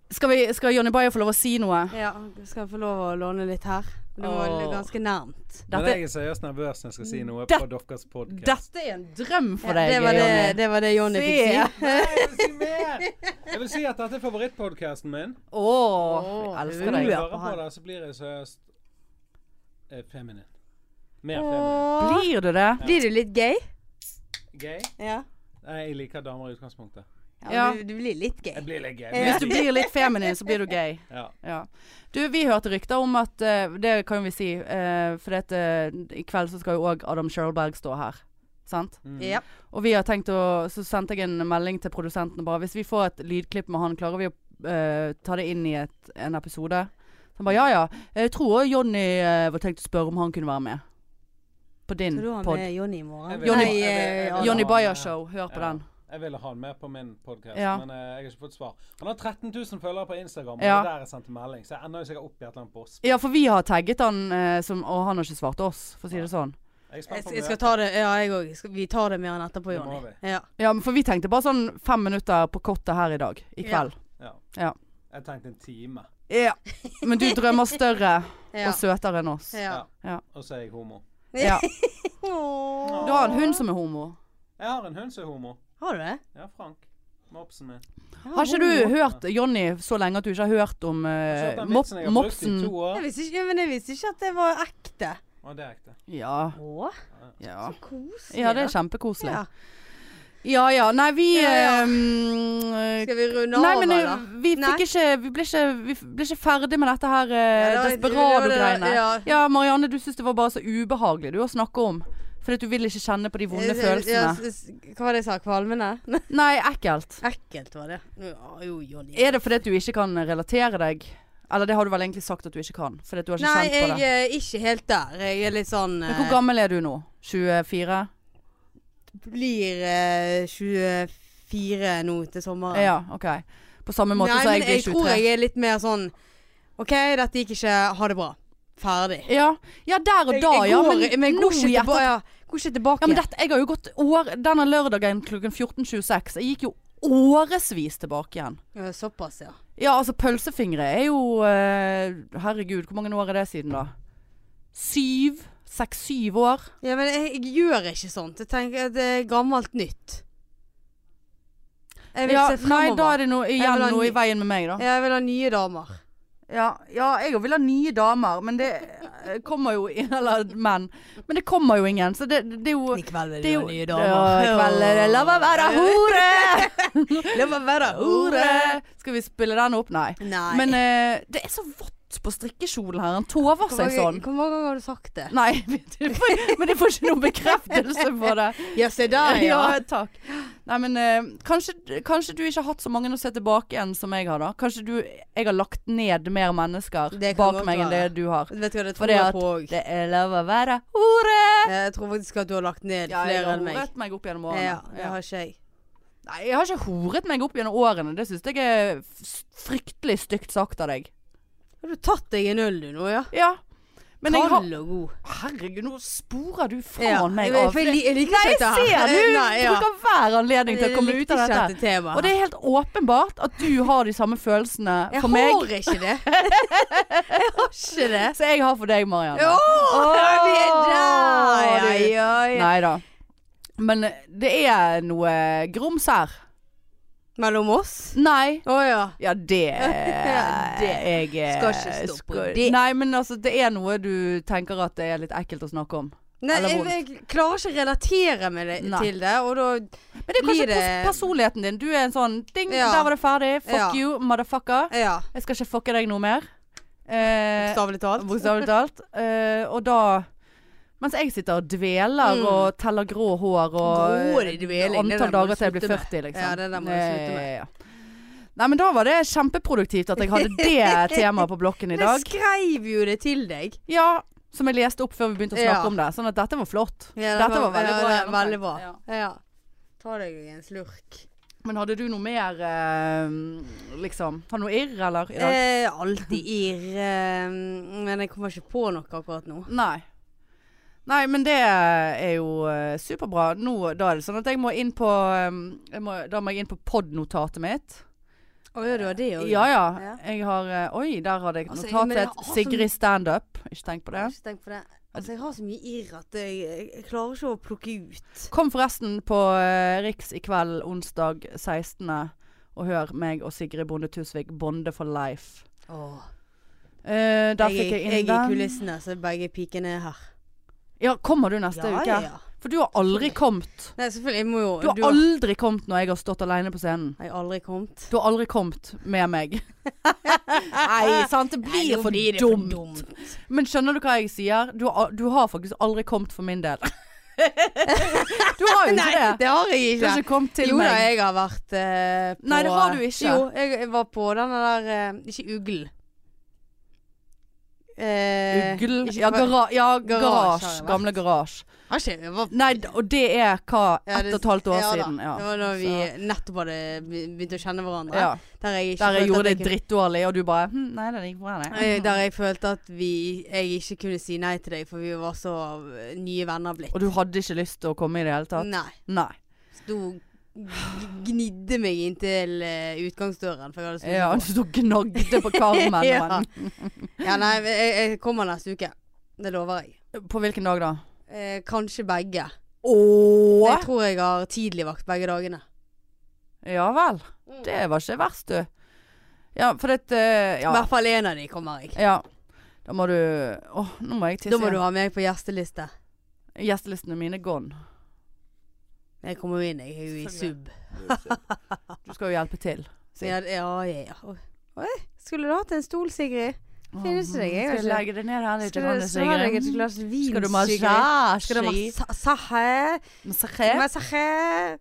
[SPEAKER 2] Skal, vi, skal Johnny Bayer få lov å si noe?
[SPEAKER 1] ja. Skal jeg få lov å låne litt her? Du må
[SPEAKER 2] Åh.
[SPEAKER 1] ganske nærmt.
[SPEAKER 4] Men
[SPEAKER 2] Dette,
[SPEAKER 4] jeg er seriøst nervøs når jeg skal si noe
[SPEAKER 2] Det-
[SPEAKER 4] på deres podkast.
[SPEAKER 2] dette er en drøm for
[SPEAKER 1] Ja,
[SPEAKER 2] deg,
[SPEAKER 1] det, var det,
[SPEAKER 2] Johnny.
[SPEAKER 1] det var det Jonny fikk si.
[SPEAKER 4] Jeg vil si mer! Jeg vil si at dette er favorittpodkasten
[SPEAKER 2] Å,
[SPEAKER 4] min.
[SPEAKER 2] jeg
[SPEAKER 1] Åh,
[SPEAKER 2] elsker
[SPEAKER 1] du
[SPEAKER 4] Når
[SPEAKER 2] deg.
[SPEAKER 4] jeg
[SPEAKER 1] Ja,
[SPEAKER 4] hører på
[SPEAKER 1] han-
[SPEAKER 4] det, så blir jeg seriøst eh, feminin. Mer feminin.
[SPEAKER 1] Åh.
[SPEAKER 2] Blir du det?
[SPEAKER 1] Blir du litt gay?
[SPEAKER 4] Gay?
[SPEAKER 1] Ja.
[SPEAKER 4] Nei, jeg liker damer i utgangspunktet.
[SPEAKER 2] Ja.
[SPEAKER 1] Du, du blir litt gay.
[SPEAKER 4] Jeg blir litt gay.
[SPEAKER 2] Hvis du blir litt feminin, så blir du gay.
[SPEAKER 4] Ja.
[SPEAKER 2] Ja. Du, vi hørte rykter om at eh, Det kan jo vi si, eh, for det at, eh, i kveld så skal jo òg Adam Sherlberg stå her. Sant?
[SPEAKER 4] Mm.
[SPEAKER 1] Ja.
[SPEAKER 2] Og vi har tenkt å Så sendte jeg en melding til produsenten bare Hvis vi får et lydklipp med han, klarer vi å eh, ta det inn i et, en episode? Så han bare ja ja. Jeg tror også Jonny eh, var tenkt å spørre om han kunne være med. På din
[SPEAKER 1] Skal du ha
[SPEAKER 2] pod.
[SPEAKER 1] med Jonny i morgen?
[SPEAKER 4] Jeg vil-
[SPEAKER 2] Jonny-
[SPEAKER 1] Nei,
[SPEAKER 4] jeg vil-
[SPEAKER 1] eh,
[SPEAKER 4] jeg vil-
[SPEAKER 1] Jonny-
[SPEAKER 2] Jonny Bayer Show. Hør på
[SPEAKER 4] Ja.
[SPEAKER 2] den.
[SPEAKER 4] Jeg ville ha han med på min podkast,
[SPEAKER 2] Ja.
[SPEAKER 4] men eh, jeg har ikke fått svar. Han har 13 000 følgere på Instagram, og
[SPEAKER 2] Ja.
[SPEAKER 4] det der er sendt en melding, så jeg ender jo sikkert opp i et eller annet boss.
[SPEAKER 2] Ja, for vi har tagget han, eh, som, og han har ikke svart oss, for å si det sånn.
[SPEAKER 4] Jeg er
[SPEAKER 1] Jeg,
[SPEAKER 4] spent på
[SPEAKER 1] jeg skal
[SPEAKER 4] møtet.
[SPEAKER 1] ta det, ja jeg òg. Vi tar det med han etterpå,
[SPEAKER 4] Det må
[SPEAKER 1] Jonny. Ja.
[SPEAKER 2] Ja, men for vi tenkte bare sånn fem minutter på kottet her i dag. I
[SPEAKER 1] Ja.
[SPEAKER 2] kveld.
[SPEAKER 4] Ja.
[SPEAKER 2] Ja.
[SPEAKER 4] Jeg tenkte en time,
[SPEAKER 2] Ja. Men du drømmer større
[SPEAKER 1] Ja.
[SPEAKER 2] og søtere enn oss.
[SPEAKER 1] ja.
[SPEAKER 4] og så er jeg homo.
[SPEAKER 2] Ja.
[SPEAKER 1] Åh.
[SPEAKER 2] Du har en hund som er homo.
[SPEAKER 4] Jeg har en hund som er homo.
[SPEAKER 1] Har du det?
[SPEAKER 4] Ja, Frank. Mopsen min. Jeg
[SPEAKER 2] Har ikke du hørt Jonny så lenge at du ikke har hørt om
[SPEAKER 4] har kjøpt
[SPEAKER 2] eh,
[SPEAKER 4] den
[SPEAKER 2] mop
[SPEAKER 4] vitsen jeg har brukt i
[SPEAKER 2] mopsen?
[SPEAKER 4] to år.
[SPEAKER 1] Jeg visste ikke, ja, men jeg visste ikke at det var ekte.
[SPEAKER 4] Å, det er ekte.
[SPEAKER 2] Ja,
[SPEAKER 1] Å,
[SPEAKER 4] Ah.
[SPEAKER 2] ja.
[SPEAKER 1] så koselig.
[SPEAKER 2] Ja, det er
[SPEAKER 1] da.
[SPEAKER 2] kjempekoselig.
[SPEAKER 1] Ja.
[SPEAKER 2] Ja ja, nei vi
[SPEAKER 1] Ja, ja.
[SPEAKER 2] eh, mm,
[SPEAKER 1] Skal vi runde
[SPEAKER 2] Nei,
[SPEAKER 1] av,
[SPEAKER 2] men eh,
[SPEAKER 1] eller?
[SPEAKER 2] vi
[SPEAKER 1] Nei.
[SPEAKER 2] fikk ikke Vi ble ikke, vi f- ble ikke ferdig med dette her eh,
[SPEAKER 1] Ja, det var-
[SPEAKER 2] desperado-greiene.
[SPEAKER 1] det var-
[SPEAKER 2] Ja, Marianne, du syns det var bare så ubehagelig du å snakke om. Fordi at du vil ikke kjenne på de vonde
[SPEAKER 1] Eh, Ja,
[SPEAKER 2] følelsene.
[SPEAKER 1] s- s- Hva var det jeg sa? Kvalmene?
[SPEAKER 2] Nei, ekkelt.
[SPEAKER 1] Ekkelt var det. Ja, Jo, Jonny.
[SPEAKER 2] Er det fordi at du ikke kan relatere deg? Eller det har du vel egentlig sagt at du ikke kan? Fordi at du har ikke
[SPEAKER 1] Nei,
[SPEAKER 2] kjent på
[SPEAKER 1] jeg
[SPEAKER 2] det.
[SPEAKER 1] er ikke helt der. Jeg er litt sånn
[SPEAKER 2] Men hvor
[SPEAKER 1] eh,
[SPEAKER 2] gammel er du nå? 24?
[SPEAKER 1] Blir eh, 24 nå til sommeren.
[SPEAKER 2] Ja, OK. På samme måte
[SPEAKER 1] Nei,
[SPEAKER 2] så er jeg
[SPEAKER 1] men jeg
[SPEAKER 2] blitt
[SPEAKER 1] tror
[SPEAKER 2] 23.
[SPEAKER 1] jeg er litt mer sånn OK, dette gikk ikke. Ha det bra. Ferdig.
[SPEAKER 2] Ja. ja, der og da, ja.
[SPEAKER 1] går,
[SPEAKER 2] Men,
[SPEAKER 1] men jeg
[SPEAKER 2] nå
[SPEAKER 1] går
[SPEAKER 2] i
[SPEAKER 1] ikke
[SPEAKER 2] etter-
[SPEAKER 1] tilbake. Ja, går ikke tilbake.
[SPEAKER 2] Ja, men dette, jeg har jo gått år Denne lørdagen klokken 14.26. Jeg gikk jo årevis tilbake igjen.
[SPEAKER 1] Ja, Såpass, ja.
[SPEAKER 2] Ja, altså pølsefingre er jo eh, Herregud, hvor mange år er det siden da? Syv? Seks-syv år?
[SPEAKER 1] Ja, men jeg, jeg gjør ikke sånt. Jeg tenker at det er gammelt nytt. Jeg vil
[SPEAKER 2] Ja,
[SPEAKER 1] se
[SPEAKER 2] nei,
[SPEAKER 1] fremover.
[SPEAKER 2] da er det noe,
[SPEAKER 1] Jeg vil
[SPEAKER 2] igjen
[SPEAKER 1] ha
[SPEAKER 2] noe
[SPEAKER 1] ny-
[SPEAKER 2] i veien med meg, da.
[SPEAKER 1] Jeg vil ha nye damer.
[SPEAKER 2] Ja, ja, jeg vil ha nye damer, men det eh, kommer jo Eller menn. Men det kommer jo ingen, så det, det er jo
[SPEAKER 1] I kveld vil
[SPEAKER 2] det er jo
[SPEAKER 1] Ja,
[SPEAKER 2] Ja, i kveld er det La meg være hore!
[SPEAKER 1] La meg være hore.
[SPEAKER 2] Skal vi spille den opp? Nei.
[SPEAKER 1] Nei.
[SPEAKER 2] Men eh, det er så vått spytt på strikkekjolen her. Han tover
[SPEAKER 1] Hvor
[SPEAKER 2] seg sånn.
[SPEAKER 1] mange, hvor mange ganger har du sagt det?
[SPEAKER 2] Nei, du får- men jeg får ikke noen bekreftelse på det.
[SPEAKER 1] Ja, se der, ja.
[SPEAKER 2] Ja, takk. Nei, men eh, kanskje, kanskje du ikke har hatt så mange å se tilbake igjen som jeg har, da. Kanskje du Jeg har lagt ned mer mennesker
[SPEAKER 1] Det kan
[SPEAKER 2] bak
[SPEAKER 1] godt
[SPEAKER 2] meg enn det
[SPEAKER 1] være.
[SPEAKER 2] du har.
[SPEAKER 1] Vet du hva, det
[SPEAKER 2] For
[SPEAKER 1] tror
[SPEAKER 2] det
[SPEAKER 1] jeg
[SPEAKER 2] at-
[SPEAKER 1] på òg.
[SPEAKER 2] Det er lov å være hore!
[SPEAKER 1] Jeg tror faktisk at du har lagt ned
[SPEAKER 2] Ja, jeg
[SPEAKER 1] flere
[SPEAKER 2] har
[SPEAKER 1] enn meg.
[SPEAKER 2] horet meg opp gjennom årene.
[SPEAKER 1] Ja, det har ikke jeg.
[SPEAKER 2] Nei, jeg har ikke horet meg opp gjennom årene. Det syns jeg er f- fryktelig stygt sagt av deg.
[SPEAKER 1] Har du tatt deg en øl du nå, ja?
[SPEAKER 2] Ja. Men jeg har
[SPEAKER 1] Kald og god.
[SPEAKER 2] Herregud, nå sporer du faen
[SPEAKER 1] Ja,
[SPEAKER 2] meg
[SPEAKER 1] jeg-
[SPEAKER 2] av.
[SPEAKER 1] for jeg li- jeg liker
[SPEAKER 2] Nei,
[SPEAKER 1] ikke
[SPEAKER 2] jeg
[SPEAKER 1] dette her. Eh,
[SPEAKER 2] ser du
[SPEAKER 1] Nei, ja.
[SPEAKER 2] bruker hver anledning til å komme ut av dette.
[SPEAKER 1] dette temaet.
[SPEAKER 2] Og det er helt åpenbart at du har de samme følelsene
[SPEAKER 1] jeg
[SPEAKER 2] for meg
[SPEAKER 1] har ikke det. jeg har ikke det.
[SPEAKER 2] som jeg har for deg, Marianne.
[SPEAKER 1] Åh,
[SPEAKER 2] Åh,
[SPEAKER 1] vi er der!
[SPEAKER 2] du.
[SPEAKER 1] Ja, ja, ja.
[SPEAKER 2] Nei da. Men det er noe grums her.
[SPEAKER 1] Mellom oss?
[SPEAKER 2] Nei.
[SPEAKER 1] Å ja.
[SPEAKER 2] Ja, det,
[SPEAKER 1] Ja, det.
[SPEAKER 2] Jeg
[SPEAKER 1] Skal ikke stå på
[SPEAKER 2] skal-
[SPEAKER 1] det.
[SPEAKER 2] Nei, men altså, det er noe du tenker at det er litt ekkelt å snakke om.
[SPEAKER 1] Nei,
[SPEAKER 2] Eller
[SPEAKER 1] jeg, jeg klarer ikke å relatere meg det-
[SPEAKER 2] Nei.
[SPEAKER 1] til det, og da
[SPEAKER 2] Men det er
[SPEAKER 1] Blir
[SPEAKER 2] kanskje
[SPEAKER 1] det-
[SPEAKER 2] pers- personligheten din. Du er en sånn ding,
[SPEAKER 1] Ja.
[SPEAKER 2] der var det ferdig. Fuck
[SPEAKER 1] Ja.
[SPEAKER 2] you, motherfucker.
[SPEAKER 1] Ja.
[SPEAKER 2] Jeg skal ikke fucke deg noe mer. Eh,
[SPEAKER 1] Bokstavelig talt.
[SPEAKER 2] Bokstavelig talt. Eh, og da Mens jeg sitter og dveler
[SPEAKER 1] Mm.
[SPEAKER 2] og teller grå hår og
[SPEAKER 1] Grådig dveling, det der må
[SPEAKER 2] antall
[SPEAKER 1] du
[SPEAKER 2] dager til jeg blir
[SPEAKER 1] slutte med.
[SPEAKER 2] 40, liksom.
[SPEAKER 1] Ja, det der må du slutte med.
[SPEAKER 2] Eh, ja. Nei, men da var det kjempeproduktivt at jeg hadde det temaet på blokken i
[SPEAKER 1] Men jeg
[SPEAKER 2] dag.
[SPEAKER 1] skrev jo det til deg.
[SPEAKER 2] Ja, som jeg leste opp før vi begynte å snakke
[SPEAKER 1] Ja.
[SPEAKER 2] om det. Sånn at dette var flott.
[SPEAKER 1] Ja, det
[SPEAKER 2] dette var veldig
[SPEAKER 1] ja,
[SPEAKER 2] bra.
[SPEAKER 1] det er
[SPEAKER 2] gjennomtenkt.
[SPEAKER 1] Veldig bra.
[SPEAKER 2] Ja.
[SPEAKER 1] Ja. Ta deg en slurk.
[SPEAKER 2] Men hadde du noe mer eh, liksom Har du noe irr, eller? I dag?
[SPEAKER 1] Eh, alltid irr. Eh, men jeg kommer ikke på noe akkurat nå.
[SPEAKER 2] Nei. Nei, men det er jo eh, superbra. Nå, da er det sånn at jeg må inn på eh, jeg må, Da må jeg inn på podnotatet mitt.
[SPEAKER 1] Å ja, du har det òg?
[SPEAKER 2] Ja ja.
[SPEAKER 1] Ja.
[SPEAKER 2] Jeg har eh, Oi, der hadde jeg
[SPEAKER 1] Altså,
[SPEAKER 2] notatet.
[SPEAKER 1] jeg- men jeg har så mye-
[SPEAKER 2] Sigrid standup. Ikke tenk på det.
[SPEAKER 1] Ikke tenk på det. Altså, jeg har så mye irr at jeg, jeg- jeg klarer ikke å plukke ut.
[SPEAKER 2] Kom forresten på eh, Riks i kveld onsdag 16. og hør meg og Sigrid Bonde Tusvik bonde for life.
[SPEAKER 1] Åh.
[SPEAKER 2] Eh, der
[SPEAKER 1] Jeg,
[SPEAKER 2] fikk
[SPEAKER 1] er-
[SPEAKER 2] jeg
[SPEAKER 1] jeg
[SPEAKER 2] inn
[SPEAKER 1] er i
[SPEAKER 2] den.
[SPEAKER 1] kulissene, så begge pikene er her.
[SPEAKER 2] Ja, kommer du neste uke?
[SPEAKER 1] ja, ja.
[SPEAKER 2] For du har aldri kommet.
[SPEAKER 1] Nei, selvfølgelig. Jeg må jo
[SPEAKER 2] Du har aldri kommet når jeg har stått alene på scenen.
[SPEAKER 1] Jeg har aldri kommet.
[SPEAKER 2] Du har aldri kommet med meg. Nei, sant. Det blir,
[SPEAKER 1] nå
[SPEAKER 2] for,
[SPEAKER 1] det for
[SPEAKER 2] dumt. Men skjønner du hva jeg sier? Du har, du har faktisk aldri kommet for min del. du har jo
[SPEAKER 1] Nei,
[SPEAKER 2] ikke det.
[SPEAKER 1] det har jeg
[SPEAKER 2] Du har
[SPEAKER 1] ikke.
[SPEAKER 2] ikke kommet til
[SPEAKER 1] jo da,
[SPEAKER 2] meg.
[SPEAKER 1] jeg har vært eh, på
[SPEAKER 2] Nei, det har du ikke.
[SPEAKER 1] Jo, jeg, jeg var på denne der eh, Ikke ugl. Eh,
[SPEAKER 2] Ugl.
[SPEAKER 1] ikke-
[SPEAKER 2] Ja, gara ja
[SPEAKER 1] Garasje
[SPEAKER 2] garasje.
[SPEAKER 1] har det vært.
[SPEAKER 2] Gamle garasje.
[SPEAKER 1] Har ikke jeg var
[SPEAKER 2] Nei, d- og det er hva?
[SPEAKER 1] Ja,
[SPEAKER 2] Ett
[SPEAKER 1] det-
[SPEAKER 2] og et halvt år
[SPEAKER 1] ja, da.
[SPEAKER 2] siden. Ja.
[SPEAKER 1] Det var da vi
[SPEAKER 2] Så-
[SPEAKER 1] nettopp hadde be- begynt å kjenne hverandre.
[SPEAKER 2] ja.
[SPEAKER 1] Der jeg, ikke
[SPEAKER 2] Der jeg
[SPEAKER 1] følte
[SPEAKER 2] gjorde
[SPEAKER 1] at
[SPEAKER 2] det drittdårlig, og du bare hm, Nei, det gikk bra,
[SPEAKER 1] kunne- eh,
[SPEAKER 2] det.
[SPEAKER 1] Der jeg følte at vi, jeg ikke kunne si nei til deg, for vi var så eh, nye venner blitt.
[SPEAKER 2] Og du hadde ikke lyst til å komme i det hele tatt?
[SPEAKER 1] Nei.
[SPEAKER 2] Nei.
[SPEAKER 1] Sto g- gnidde meg inntil eh, utgangsdøren, for jeg hadde
[SPEAKER 2] Ja,
[SPEAKER 1] snudd
[SPEAKER 2] du sto og gnagde på karmen.
[SPEAKER 1] Ja. på. Ja, nei, men jeg, jeg kommer neste uke. Det lover jeg.
[SPEAKER 2] men- På hvilken dag da?
[SPEAKER 1] Eh, kanskje begge.
[SPEAKER 2] Ååå!
[SPEAKER 1] Jeg tror jeg har tidligvakt begge dagene.
[SPEAKER 2] Ja vel. Mm. Det var ikke verst, du. Ja, for det eh,
[SPEAKER 1] I
[SPEAKER 2] ja.
[SPEAKER 1] hvert fall én av de kommer jeg.
[SPEAKER 2] ja. Da må du Åh, nå må jeg tisse.
[SPEAKER 1] Da må du ha meg på gjesteliste.
[SPEAKER 2] igjen. Gjestelistene mine er gone.
[SPEAKER 1] Jeg kommer jo inn, jeg er jo i
[SPEAKER 2] Selvfølgelig.
[SPEAKER 1] sub.
[SPEAKER 2] Du skal jo hjelpe til. Si.
[SPEAKER 1] Ja, det- ja, ja, ja. Oi. Oi, skulle du hatt en stol, Sigrid? Finnes det deg? Jeg
[SPEAKER 2] Skal
[SPEAKER 1] vet
[SPEAKER 2] jeg
[SPEAKER 1] ikke.
[SPEAKER 2] legge deg ned her litt?
[SPEAKER 1] Skulle du
[SPEAKER 2] Hanne
[SPEAKER 1] slå deg et
[SPEAKER 2] Sigrid?
[SPEAKER 1] glass vin,
[SPEAKER 2] Skal du
[SPEAKER 1] Sigrid?
[SPEAKER 2] massasje?
[SPEAKER 1] Skal du massa- sahe?
[SPEAKER 2] massasje?
[SPEAKER 1] Massasje?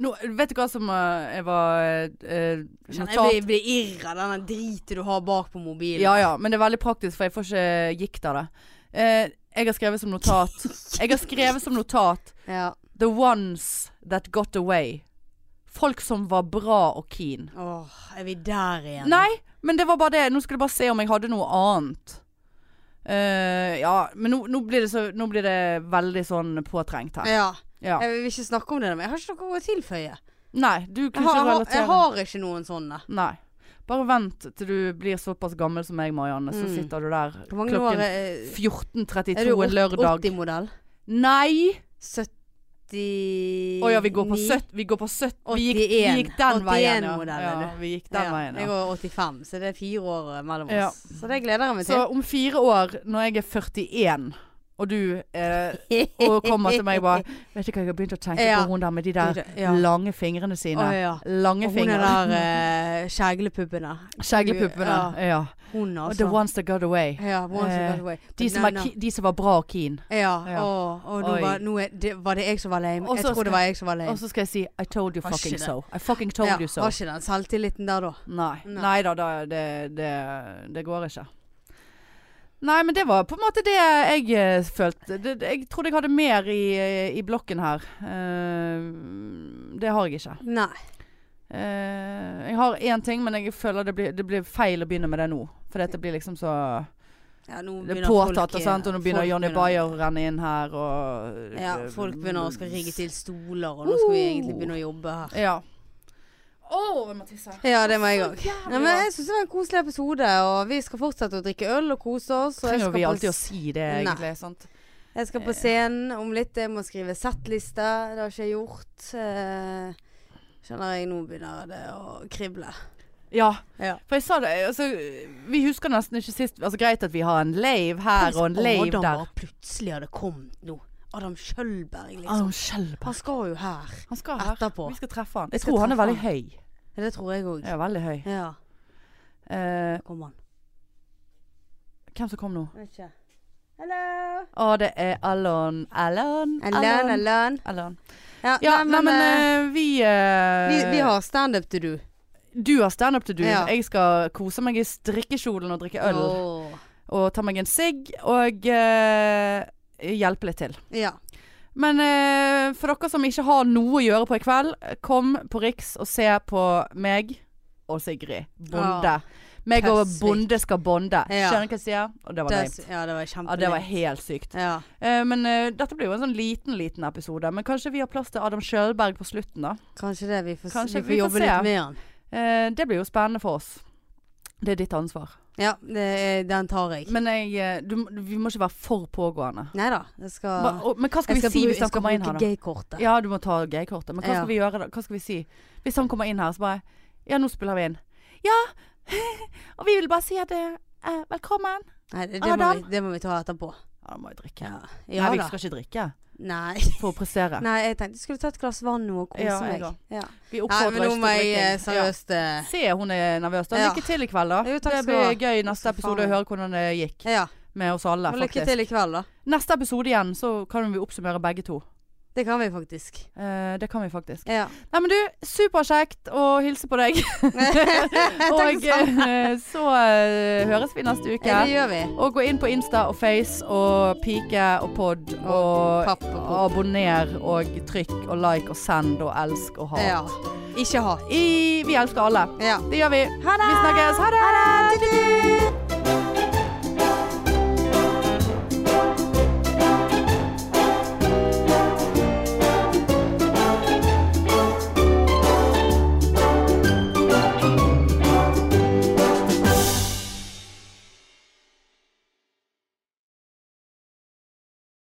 [SPEAKER 2] Nå, vet du hva som eh, jeg var eh,
[SPEAKER 1] Kjenner
[SPEAKER 2] notat-
[SPEAKER 1] Jeg blir, blir irr av denne driten du har bak på mobilen.
[SPEAKER 2] Ja ja, men det er veldig praktisk, for jeg får ikke gikk av det. Eh, jeg har skrevet som notat Jeg har skrevet som notat
[SPEAKER 1] Ja.
[SPEAKER 2] The ones that got away. Folk som var bra og keen.
[SPEAKER 1] Åh, er vi der igjen?
[SPEAKER 2] Nei, men det var bare det. Nå skulle jeg bare se om jeg hadde noe annet. Eh, ja, men nå, nå, blir det så, nå blir det veldig sånn påtrengt her.
[SPEAKER 1] Ja.
[SPEAKER 2] Ja.
[SPEAKER 1] Jeg vil ikke snakke om det, men jeg har ikke noe å tilføye.
[SPEAKER 2] Nei, du
[SPEAKER 1] Jeg
[SPEAKER 2] kunne
[SPEAKER 1] har,
[SPEAKER 2] ikke
[SPEAKER 1] jeg har,
[SPEAKER 2] relatere.
[SPEAKER 1] jeg har ikke noen sånne.
[SPEAKER 2] Nei. Bare vent til du blir såpass gammel som meg, Marianne. Så
[SPEAKER 1] Mm.
[SPEAKER 2] sitter du der
[SPEAKER 1] Hvor mange år
[SPEAKER 2] klokken
[SPEAKER 1] er,
[SPEAKER 2] 14.32
[SPEAKER 1] er du?
[SPEAKER 2] en lørdag.
[SPEAKER 1] 80-modell?
[SPEAKER 2] Nei!
[SPEAKER 1] 70
[SPEAKER 2] Å ja, vi går på 70. Vi, går på 70. vi, gikk, vi
[SPEAKER 1] 81.
[SPEAKER 2] gikk den veien,
[SPEAKER 1] 81-modell
[SPEAKER 2] ja.
[SPEAKER 1] er du.
[SPEAKER 2] ja. Vi gikk den
[SPEAKER 1] ja,
[SPEAKER 2] veien,
[SPEAKER 1] Jeg
[SPEAKER 2] ja.
[SPEAKER 1] går 85, så det er fire år eh, mellom oss.
[SPEAKER 2] Ja.
[SPEAKER 1] Så det gleder jeg meg
[SPEAKER 2] Så
[SPEAKER 1] til.
[SPEAKER 2] om fire år, når jeg er 41, og du eh, og kommer til meg og bare 'Vet du hva jeg har begynt å tenke
[SPEAKER 1] Ja.
[SPEAKER 2] på hun der med de der
[SPEAKER 1] ja.
[SPEAKER 2] lange fingrene sine?'
[SPEAKER 1] Å, ja.
[SPEAKER 2] Lange
[SPEAKER 1] Og hun er
[SPEAKER 2] fingre.
[SPEAKER 1] der eh, skjeglepuppen der.
[SPEAKER 2] Skjeglepuppene.
[SPEAKER 1] Ja.
[SPEAKER 2] Ja.
[SPEAKER 1] Hun,
[SPEAKER 2] Og The
[SPEAKER 1] altså.
[SPEAKER 2] Ones That Got Away.
[SPEAKER 1] ja, once
[SPEAKER 2] Eh,
[SPEAKER 1] you got away.
[SPEAKER 2] De
[SPEAKER 1] But
[SPEAKER 2] som,
[SPEAKER 1] no,
[SPEAKER 2] var,
[SPEAKER 1] no.
[SPEAKER 2] ki- de som var bra og keen.
[SPEAKER 1] Ja.
[SPEAKER 2] Ja.
[SPEAKER 1] Å, og nå,
[SPEAKER 2] Oi.
[SPEAKER 1] var, nå er det, var det jeg som var lame.
[SPEAKER 2] Og så
[SPEAKER 1] jeg tror
[SPEAKER 2] skal-
[SPEAKER 1] det var jeg som var lame.
[SPEAKER 2] Og så skal jeg si I told you
[SPEAKER 1] Var ikke
[SPEAKER 2] fucking
[SPEAKER 1] det.
[SPEAKER 2] so. I fucking told
[SPEAKER 1] ja,
[SPEAKER 2] you so.
[SPEAKER 1] Var ikke den selvtilliten der, da?
[SPEAKER 2] Nei.
[SPEAKER 1] Nei.
[SPEAKER 2] Nei da, da det, det, det går ikke. Nei, men det var på en måte det jeg eh, følte. Det, det- jeg trodde jeg hadde mer i, eh, i blokken her. Eh, det har jeg ikke.
[SPEAKER 1] Nei.
[SPEAKER 2] Eh, jeg har én ting, men jeg føler det blir, det blir feil å begynne med det nå. For dette blir liksom så
[SPEAKER 1] Ja, nå
[SPEAKER 2] det er
[SPEAKER 1] begynner
[SPEAKER 2] påtatt,
[SPEAKER 1] folk
[SPEAKER 2] og,
[SPEAKER 1] eh,
[SPEAKER 2] sant? og nå begynner
[SPEAKER 1] folk
[SPEAKER 2] Johnny
[SPEAKER 1] begynner-
[SPEAKER 2] Bayer å renne inn her, og eh,
[SPEAKER 1] Ja, folk begynner å skal rigge til stoler, og nå skal
[SPEAKER 2] Uh!
[SPEAKER 1] vi egentlig begynne å jobbe her.
[SPEAKER 2] Ja. Å, jeg må tisse.
[SPEAKER 1] Ja, det må jeg òg.
[SPEAKER 2] jævlig
[SPEAKER 1] Nei, men
[SPEAKER 2] bra.
[SPEAKER 1] jeg syns det var en koselig episode, og vi skal fortsette å drikke øl og kose oss. Og jeg
[SPEAKER 2] Trenger
[SPEAKER 1] skal,
[SPEAKER 2] vi
[SPEAKER 1] på,
[SPEAKER 2] alltid å
[SPEAKER 1] s-
[SPEAKER 2] si Eh. det,
[SPEAKER 1] Nei.
[SPEAKER 2] egentlig? Sant?
[SPEAKER 1] jeg skal på scenen om litt. Jeg må skrive settliste. Det har ikke jeg gjort. Eh, Skjønner jeg, nå begynner det å krible.
[SPEAKER 2] Ja.
[SPEAKER 1] Ja.
[SPEAKER 2] For jeg sa det altså, Vi husker nesten ikke sist altså, Greit at vi har en lave her og en lave
[SPEAKER 1] Adam
[SPEAKER 2] der.
[SPEAKER 1] bare plutselig hadde kommet nå. Adam Kjølberg, liksom.
[SPEAKER 2] Adam Schjølberg.
[SPEAKER 1] Han skal jo her
[SPEAKER 2] Han skal her.
[SPEAKER 1] etterpå.
[SPEAKER 2] Vi skal treffe han. Jeg
[SPEAKER 1] skal
[SPEAKER 2] tror han er
[SPEAKER 1] treffe
[SPEAKER 2] veldig høy.
[SPEAKER 1] Ja, Det tror jeg òg.
[SPEAKER 2] Ja, veldig høy.
[SPEAKER 1] Ja.
[SPEAKER 2] Eh,
[SPEAKER 1] Kom an.
[SPEAKER 2] hvem som kom nå?
[SPEAKER 3] Vet ikke. Hello!
[SPEAKER 2] Å, det er Alon. Alon.
[SPEAKER 1] Ellen, Ellen.
[SPEAKER 2] Alon.
[SPEAKER 1] Ja,
[SPEAKER 2] Ja,
[SPEAKER 1] nei, men, eh,
[SPEAKER 2] eh, vi, eh,
[SPEAKER 1] vi, vi har standup til du.
[SPEAKER 2] Du har standup til du.
[SPEAKER 1] Ja.
[SPEAKER 2] Jeg skal kose meg i strikkekjolen og drikke øl.
[SPEAKER 1] Åh.
[SPEAKER 2] Og ta meg en sigg og eh, hjelpe litt til.
[SPEAKER 1] Ja.
[SPEAKER 2] Men eh, for dere som ikke har noe å gjøre på i kveld, kom på Riks og se på meg og Sigrid Bonde. Meg og
[SPEAKER 1] Tøsvik.
[SPEAKER 2] Bonde skal bonde.
[SPEAKER 1] Ja.
[SPEAKER 2] Skjønner du hva jeg sier? Og det var
[SPEAKER 1] Det,
[SPEAKER 2] lame.
[SPEAKER 1] ja, det var
[SPEAKER 2] Ja, det var
[SPEAKER 1] kjempelenge.
[SPEAKER 2] helt sykt.
[SPEAKER 1] Ja.
[SPEAKER 2] Eh, men eh, dette blir jo en sånn liten, liten episode. Men kanskje vi har plass til Adam Sjølberg på slutten, da.
[SPEAKER 1] Kanskje det. Vi får,
[SPEAKER 2] Kanskje vi
[SPEAKER 1] vi får
[SPEAKER 2] får se.
[SPEAKER 1] jobbe litt med han.
[SPEAKER 2] Eh, det blir jo spennende for oss. Det er ditt ansvar.
[SPEAKER 1] Ja, det, den tar jeg.
[SPEAKER 2] Men jeg, eh, du, vi må ikke være for pågående.
[SPEAKER 1] Nei da. Jeg skal,
[SPEAKER 2] Hva- og- Men hva skal,
[SPEAKER 1] jeg
[SPEAKER 2] vi si
[SPEAKER 1] bruke-
[SPEAKER 2] hvis han
[SPEAKER 1] jeg skal
[SPEAKER 2] kommer inn her,
[SPEAKER 1] bruke
[SPEAKER 2] da?
[SPEAKER 1] gaykortet.
[SPEAKER 2] Ja, du må ta gaykortet. Men hva
[SPEAKER 1] Ja.
[SPEAKER 2] skal vi gjøre da? Hva skal vi si? Hvis han kommer inn her, så bare Ja, nå spiller vi inn. Ja! og vi vil bare si at eh, eh, velkommen.
[SPEAKER 1] Nei, det, det, må
[SPEAKER 2] Adam?
[SPEAKER 1] vi, det må vi ta etterpå.
[SPEAKER 2] Ja, da må jeg drikke.
[SPEAKER 1] Ja, ja
[SPEAKER 2] Nei, vi
[SPEAKER 1] da.
[SPEAKER 2] skal ikke drikke
[SPEAKER 1] Nei.
[SPEAKER 2] for å prestere.
[SPEAKER 1] Nei, jeg tenkte jeg skulle ta et glass vann nå og kose
[SPEAKER 2] Ja, jeg
[SPEAKER 1] meg.
[SPEAKER 2] òg. Vi
[SPEAKER 1] Ja. Nei, men
[SPEAKER 2] oppfordrer
[SPEAKER 1] nå
[SPEAKER 2] ikke til
[SPEAKER 1] må jeg eh,
[SPEAKER 2] drikking.
[SPEAKER 1] seriøst eh,
[SPEAKER 2] Ja. Se, hun er nervøs. Da.
[SPEAKER 1] Ja.
[SPEAKER 2] Lykke til i kveld, da.
[SPEAKER 1] Jo, takk
[SPEAKER 2] det
[SPEAKER 1] skal
[SPEAKER 2] blir
[SPEAKER 1] du
[SPEAKER 2] gøy neste
[SPEAKER 1] Også
[SPEAKER 2] episode
[SPEAKER 1] faen.
[SPEAKER 2] å høre hvordan det gikk
[SPEAKER 1] Ja.
[SPEAKER 2] med oss alle,
[SPEAKER 1] Og lykke
[SPEAKER 2] faktisk.
[SPEAKER 1] til i kveld, da.
[SPEAKER 2] Neste episode igjen, så kan vi oppsummere begge to.
[SPEAKER 1] Det kan vi faktisk.
[SPEAKER 2] Eh, det kan vi faktisk.
[SPEAKER 1] Ja.
[SPEAKER 2] Nei, men du, superkjekt å hilse på deg.
[SPEAKER 1] Takk
[SPEAKER 2] Og
[SPEAKER 1] sammen.
[SPEAKER 2] eh, så eh, høres vi neste uke.
[SPEAKER 1] Det gjør vi.
[SPEAKER 2] Og gå inn på Insta og Face og Pike og Pod og
[SPEAKER 1] Papp og kok.
[SPEAKER 2] abonner og trykk og like og send og elsk og ha.
[SPEAKER 1] Ja. Ikke hat.
[SPEAKER 2] I, vi elsker alle.
[SPEAKER 1] Ja.
[SPEAKER 2] Det gjør vi.
[SPEAKER 1] Ha det!
[SPEAKER 2] Vi snakkes. Ha det!
[SPEAKER 1] Ha det!